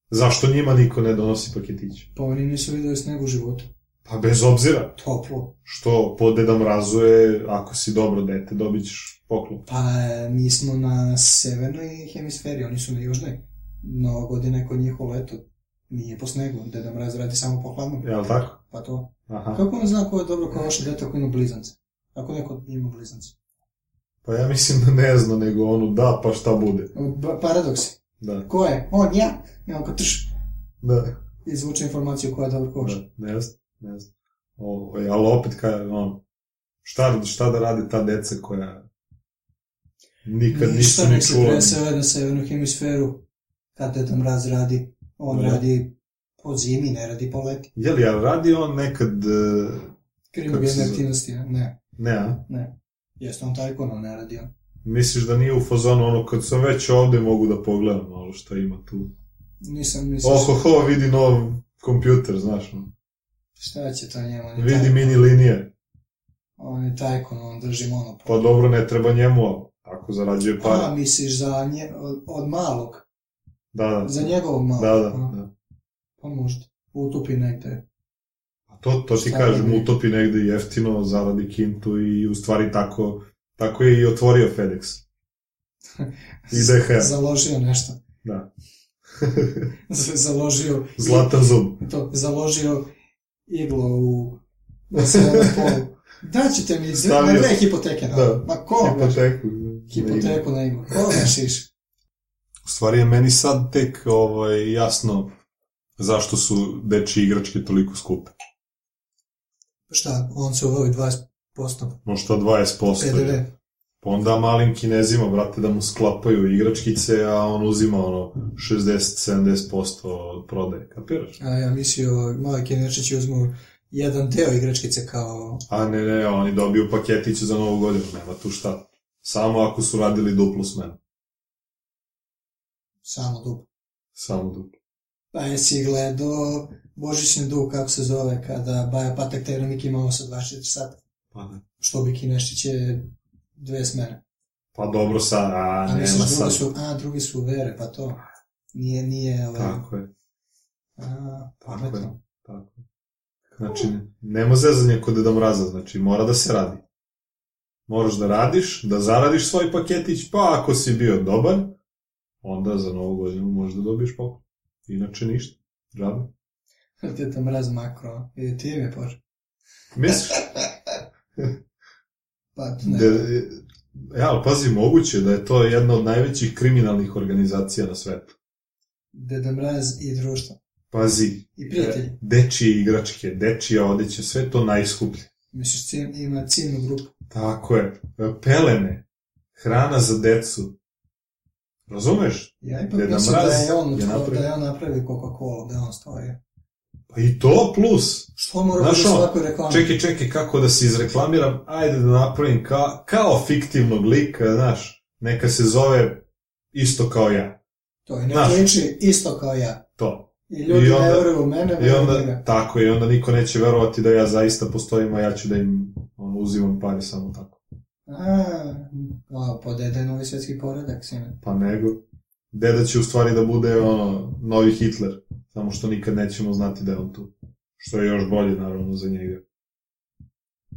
[SPEAKER 1] Zašto njima niko ne donosi paketiće?
[SPEAKER 2] Pa oni nisu videli snegu u životu.
[SPEAKER 1] Pa bez obzira,
[SPEAKER 2] Toplo.
[SPEAKER 1] što po Deda Mrazu je, ako si dobro dete, dobit ćeš poklon.
[SPEAKER 2] Pa e, mi smo na severnoj hemisferi, oni su na južnoj. Nova godina je kod njih u letu. Nije po snegu, Deda Mraz radi samo po hladnom.
[SPEAKER 1] Je li tako?
[SPEAKER 2] Pa to.
[SPEAKER 1] Aha.
[SPEAKER 2] Kako on zna ko je dobro, ko je loše dete, ako ima blizance? Ako neko ima blizance.
[SPEAKER 1] Pa ja mislim da ne zna, nego ono da, pa šta bude.
[SPEAKER 2] B- Paradoks.
[SPEAKER 1] Da,
[SPEAKER 2] Ko je? On, ja. I on kao trš.
[SPEAKER 1] da,
[SPEAKER 2] Izvuče informaciju koja je dobro, ko je loše.
[SPEAKER 1] da ne znam, ne znam. Ovaj, ali opet, kaj, ono, šta, šta da radi ta deca koja nikad nisu
[SPEAKER 2] Ništa
[SPEAKER 1] ni
[SPEAKER 2] nek se
[SPEAKER 1] čula.
[SPEAKER 2] presele na severnu hemisferu. Kad Deda Mraz radi, on
[SPEAKER 1] Da.
[SPEAKER 2] radi po zimi, ne radi po leti.
[SPEAKER 1] Je li, ali radi on nekad, e, Kako se
[SPEAKER 2] Kriminalne
[SPEAKER 1] zove?
[SPEAKER 2] aktivnosti, ne? Ne.
[SPEAKER 1] ne, a?
[SPEAKER 2] Jeste on taj kono ne radi on.
[SPEAKER 1] Misliš da nije u fazonu ono, kad sam već ovde mogu da pogledam malo šta ima tu.
[SPEAKER 2] Nisam, nisam.
[SPEAKER 1] Oho, ho, vidi nov kompjuter, znaš, no.
[SPEAKER 2] Šta će to njemu? On je
[SPEAKER 1] vidi
[SPEAKER 2] taj-
[SPEAKER 1] mini linije.
[SPEAKER 2] On je taj kono, on drži monopol.
[SPEAKER 1] Pa dobro, ne treba njemu, ali ako zarađuje pare.
[SPEAKER 2] A, misliš za nje, od, od malog?
[SPEAKER 1] da, da.
[SPEAKER 2] Za njegovog malog?
[SPEAKER 1] Da, da,
[SPEAKER 2] A,
[SPEAKER 1] da.
[SPEAKER 2] Pa možda. Utopi negde.
[SPEAKER 1] A to, to ti
[SPEAKER 2] Šta
[SPEAKER 1] kažem,
[SPEAKER 2] radi?
[SPEAKER 1] utopi negde jeftino, zaradi kintu i u stvari tako, tako je i otvorio FedEx. I DHL.
[SPEAKER 2] Založio nešto.
[SPEAKER 1] Da.
[SPEAKER 2] založio...
[SPEAKER 1] Zlatan zub.
[SPEAKER 2] To, založio iglo u... Na severnom polu. Daćete mi dve- na
[SPEAKER 1] Stavio.
[SPEAKER 2] dve hipoteke. Na,
[SPEAKER 1] Da.
[SPEAKER 2] Ma ko?
[SPEAKER 1] Hipoteku.
[SPEAKER 2] Hipoteku na iglo. Ko znaš
[SPEAKER 1] U stvari je meni sad tek ovaj, jasno zašto su dečje igračke toliko skupe.
[SPEAKER 2] Šta, on se uvovi 20%.
[SPEAKER 1] Možda 20%.
[SPEAKER 2] PDV.
[SPEAKER 1] Pa onda malim kinezima, brate, da mu sklapaju igračkice, a on uzima ono 60-70% od prodaje, kapiraš?
[SPEAKER 2] A ja mislio, mali Kinečići uzmu jedan deo igračkice kao...
[SPEAKER 1] A ne, ne, oni dobiju paketiće za novu godinu, nema tu šta. Samo ako su radili duplu smenu.
[SPEAKER 2] Samo dug.
[SPEAKER 1] Samo duplu.
[SPEAKER 2] Pa jesi gledao Božićni dug, kako se zove, kada Baja Patak Teramik imao sa 24 sata.
[SPEAKER 1] Pa, ne.
[SPEAKER 2] Što bi Kinešić je dve smene.
[SPEAKER 1] pa dobro sad, a,
[SPEAKER 2] A
[SPEAKER 1] nema
[SPEAKER 2] misliš, drugi
[SPEAKER 1] sad.
[SPEAKER 2] su, a, drugi su vere, pa to. Nije, nije, ovaj,
[SPEAKER 1] Tako je,
[SPEAKER 2] a, pa
[SPEAKER 1] tako je.
[SPEAKER 2] pametno.
[SPEAKER 1] Tako je. Znači, nema zezanja kod Deda Mraza, znači mora da se radi. Moraš da radiš, da zaradiš svoj paketić, pa ako si bio dobar, onda za novu godinu možda dobiješ poklon. Inače ništa, džabe.
[SPEAKER 2] Deda mraz makro, i ti mi poš.
[SPEAKER 1] Misliš,
[SPEAKER 2] Pa, ne.
[SPEAKER 1] da, e, ja, ali pazi, moguće da je to jedna od najvećih kriminalnih organizacija na svetu.
[SPEAKER 2] Deda mraz i društvo.
[SPEAKER 1] Pazi,
[SPEAKER 2] I prijatelji.
[SPEAKER 1] e, dečije igračke, dečija odeća, sve to najskuplje.
[SPEAKER 2] Misliš, cilj, ima ciljnu grupu.
[SPEAKER 1] Tako je. Pelene. Hrana za decu. Razumeš?
[SPEAKER 2] Ja ipak
[SPEAKER 1] Deda
[SPEAKER 2] mislim
[SPEAKER 1] Mraz
[SPEAKER 2] da je on,
[SPEAKER 1] je
[SPEAKER 2] je
[SPEAKER 1] napravio-
[SPEAKER 2] da je on napravio Coca-Cola, da je on stoji.
[SPEAKER 1] Pa i to plus.
[SPEAKER 2] Što mora
[SPEAKER 1] Znaš
[SPEAKER 2] biti u
[SPEAKER 1] ono,
[SPEAKER 2] svakoj reklami?
[SPEAKER 1] Čekaj, čekaj, kako da se izreklamiram? Ajde da napravim ka, kao fiktivnog lika, znaš. Neka se zove isto kao ja.
[SPEAKER 2] To je
[SPEAKER 1] Znaš.
[SPEAKER 2] neko liči isto kao ja.
[SPEAKER 1] To.
[SPEAKER 2] I ljudi
[SPEAKER 1] I
[SPEAKER 2] ne
[SPEAKER 1] onda-
[SPEAKER 2] veruju u mene,
[SPEAKER 1] I
[SPEAKER 2] veruju u
[SPEAKER 1] onda,
[SPEAKER 2] njega.
[SPEAKER 1] tako je, i onda niko neće verovati da ja zaista postojim, a ja ću da im ono, uzimam pare samo tako.
[SPEAKER 2] A, wow, pa deda je novi svjetski poredak, sine.
[SPEAKER 1] Pa nego. Deda će u stvari da bude ono, novi Hitler. Samo što nikad nećemo znati da je on tu. Što je još bolje, naravno, za njega.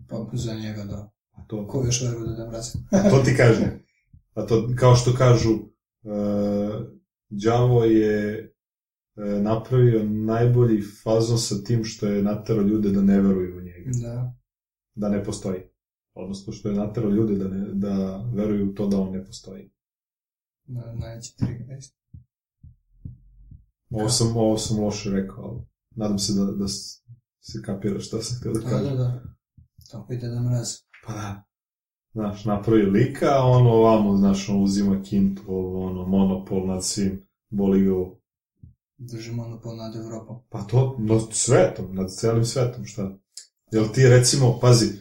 [SPEAKER 2] Pa za njega da.
[SPEAKER 1] A to,
[SPEAKER 2] Ko još veruje da da mraz?
[SPEAKER 1] to ti kažem. A to, kao što kažu, e, Đavo je e, napravio najbolji fazon sa tim što je naterao ljude da ne veruju u njega,
[SPEAKER 2] Da.
[SPEAKER 1] da ne postoji. Odnosno što je naterao ljude da, ne, da veruju u to da on ne postoji.
[SPEAKER 2] Na, najveći trik.
[SPEAKER 1] Ovo sam, ovo sam loše rekao, ali nadam se da, da s- se kapira šta sam htio da
[SPEAKER 2] Da, da,
[SPEAKER 1] kažem.
[SPEAKER 2] da. Tako i deda mraz.
[SPEAKER 1] Pa da. Znaš, napravi lika, a on ovamo, znaš, on uzima kintu, ovo, ono, monopol nad svim, boli ga ovo.
[SPEAKER 2] Drži monopol ono nad Evropom.
[SPEAKER 1] Pa to, nad svetom, nad celim svetom, šta? Jel ti recimo, pazi, e,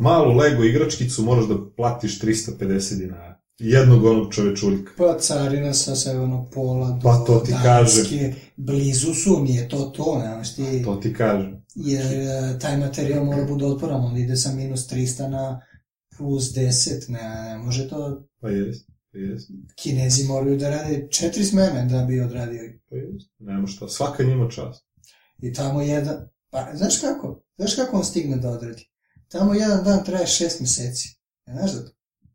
[SPEAKER 1] malu Lego igračkicu moraš da platiš 350 dinara. Jednog onog čovečuljka.
[SPEAKER 2] Pa carina sa severnog pola do
[SPEAKER 1] Pa to ti
[SPEAKER 2] Danske, blizu su, nije to to, nemaš ti,
[SPEAKER 1] Pa To ti kažem.
[SPEAKER 2] jer e, taj materijal mora bude otporan, on ide sa minus 300 na plus 10, ne, ne može to,
[SPEAKER 1] Pa jest, pa jest,
[SPEAKER 2] kinezi moraju da rade četiri smene da bi odradili.
[SPEAKER 1] pa jest. Nema šta, svaka njima čast.
[SPEAKER 2] I tamo jedan, pa znaš kako, znaš kako on stigne da odradi? Tamo jedan dan traje šest meseci, ne znaš da to?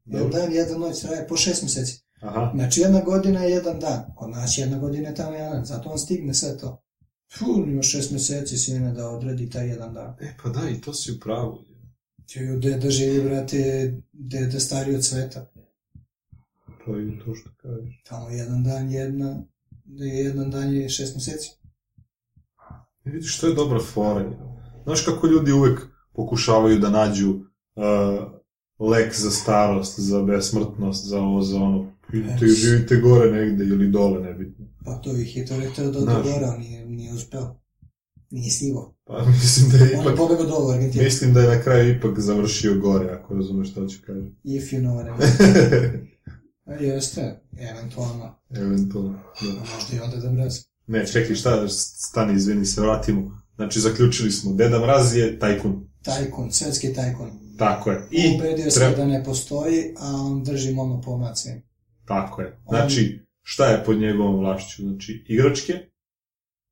[SPEAKER 2] Jedan
[SPEAKER 1] Dobro.
[SPEAKER 2] dan, jedna noć traje po šest meseci.
[SPEAKER 1] Aha,
[SPEAKER 2] Znači jedna godina je jedan dan, kod nas jedna godina je tamo jedan dan, zato on stigne sve to. Puh, ima šest meseci sine da odradi taj jedan dan.
[SPEAKER 1] e pa da, i to si u pravu.
[SPEAKER 2] Ju, deda živi, brate, deda stari od sveta.
[SPEAKER 1] To je to što kažeš.
[SPEAKER 2] Tamo jedan dan, jedna, jedan dan je šest meseci.
[SPEAKER 1] E, vidiš, to je dobra fora. je. Znaš kako ljudi uvek pokušavaju da nađu e, lek za starost, za besmrtnost, za ovo, za ono. Idite,
[SPEAKER 2] Yes.
[SPEAKER 1] živite gore negde ili dole, nebitno.
[SPEAKER 2] Pa to je Hitler hteo da
[SPEAKER 1] Znaš.
[SPEAKER 2] odgovara, ali nije, nije uspeo. Nije stigo.
[SPEAKER 1] Pa mislim da je
[SPEAKER 2] On Ono je
[SPEAKER 1] ipak,
[SPEAKER 2] pobegao dolo u Argentinu.
[SPEAKER 1] mislim da je na kraju ipak završio gore, ako razumeš što ću kažem.
[SPEAKER 2] If you know what I mean. A Jeste, eventualno.
[SPEAKER 1] Eventualno. Da.
[SPEAKER 2] A možda i onda da mraz.
[SPEAKER 1] Ne, čekaj, šta, stani, izvini, se vratimo. Znači, zaključili smo, Deda Mraz je tajkun.
[SPEAKER 2] Tajkun, svetski tajkun.
[SPEAKER 1] Tako je.
[SPEAKER 2] I
[SPEAKER 1] I,
[SPEAKER 2] Ubedio
[SPEAKER 1] treba- Znači-
[SPEAKER 2] se da ne postoji, a on drži monopol nad svim.
[SPEAKER 1] tako je. Znači, šta je pod njegovom vlašću? Znači, igračke,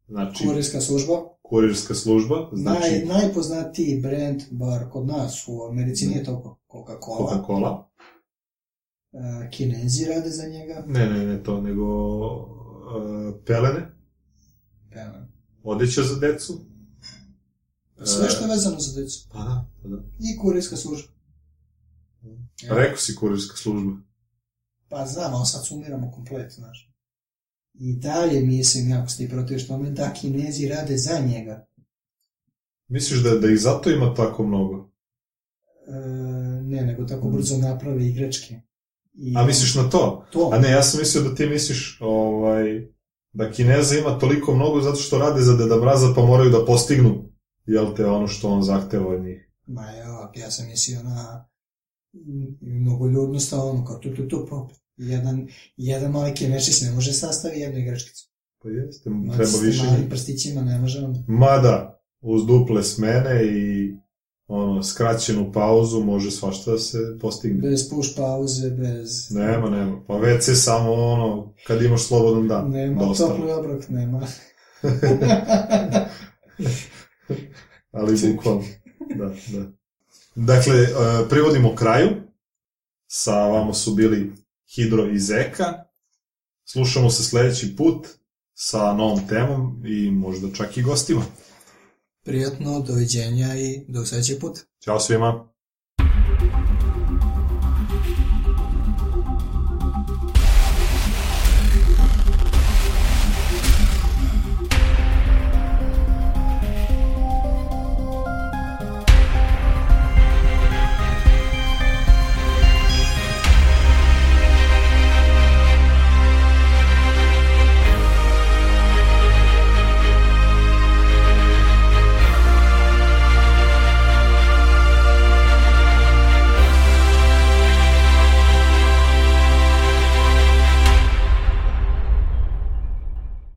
[SPEAKER 1] znači,
[SPEAKER 2] Kurirska služba,
[SPEAKER 1] kurirska služba,
[SPEAKER 2] naj,
[SPEAKER 1] znači,
[SPEAKER 2] najpoznatiji brand, bar kod nas u Americi nije to Coca-Cola,
[SPEAKER 1] Coca-Cola.
[SPEAKER 2] E, Kinezi rade za njega,
[SPEAKER 1] Ne, ne, ne to, nego e, pelene,
[SPEAKER 2] E,
[SPEAKER 1] odeća za decu. E.
[SPEAKER 2] sve što je vezano za djecu.
[SPEAKER 1] Pa da, pa da.
[SPEAKER 2] I kurirska služba.
[SPEAKER 1] Pa Rekao si kurirska služba.
[SPEAKER 2] Pa znam, ali sad sumiramo komplet, znaš. I dalje mislim, jako ste i protiv tome, da Kinezi rade za njega.
[SPEAKER 1] Misliš da, da ih zato ima tako mnogo?
[SPEAKER 2] E, ne, nego tako brzo naprave igračke. I
[SPEAKER 1] A misliš na to?
[SPEAKER 2] to?
[SPEAKER 1] A ne, ja sam mislio da ti misliš ovaj, da Kineza ima toliko mnogo zato što rade za Deda Mraza pa moraju da postignu jel te, ono što on zahteva od njih.
[SPEAKER 2] Ma evo, ja sam mislio na mnogoljudnost, a ono kao tu tu tu pop. Jedan, jedan mali kemečić ne može sastaviti jednu igračkicu.
[SPEAKER 1] Pa jeste,
[SPEAKER 2] Ma,
[SPEAKER 1] treba
[SPEAKER 2] s
[SPEAKER 1] više.
[SPEAKER 2] Malim prstićima ne može on.
[SPEAKER 1] Mada, uz duple smene i ono, skraćenu pauzu može svašta da se postigne.
[SPEAKER 2] Bez push pauze, bez...
[SPEAKER 1] Nema, nema. Pa WC samo ono, kad imaš slobodan dan.
[SPEAKER 2] Nema,
[SPEAKER 1] dosta.
[SPEAKER 2] topli obrok nema.
[SPEAKER 1] Ali bukvalno. Da, da. Dakle, e, privodimo kraju. Sa vama su bili Hidro i Zeka. Slušamo se sljedeći put sa novom temom i možda čak i gostima.
[SPEAKER 2] Prijatno, doviđenja i do sljedećeg puta.
[SPEAKER 1] Ćao svima!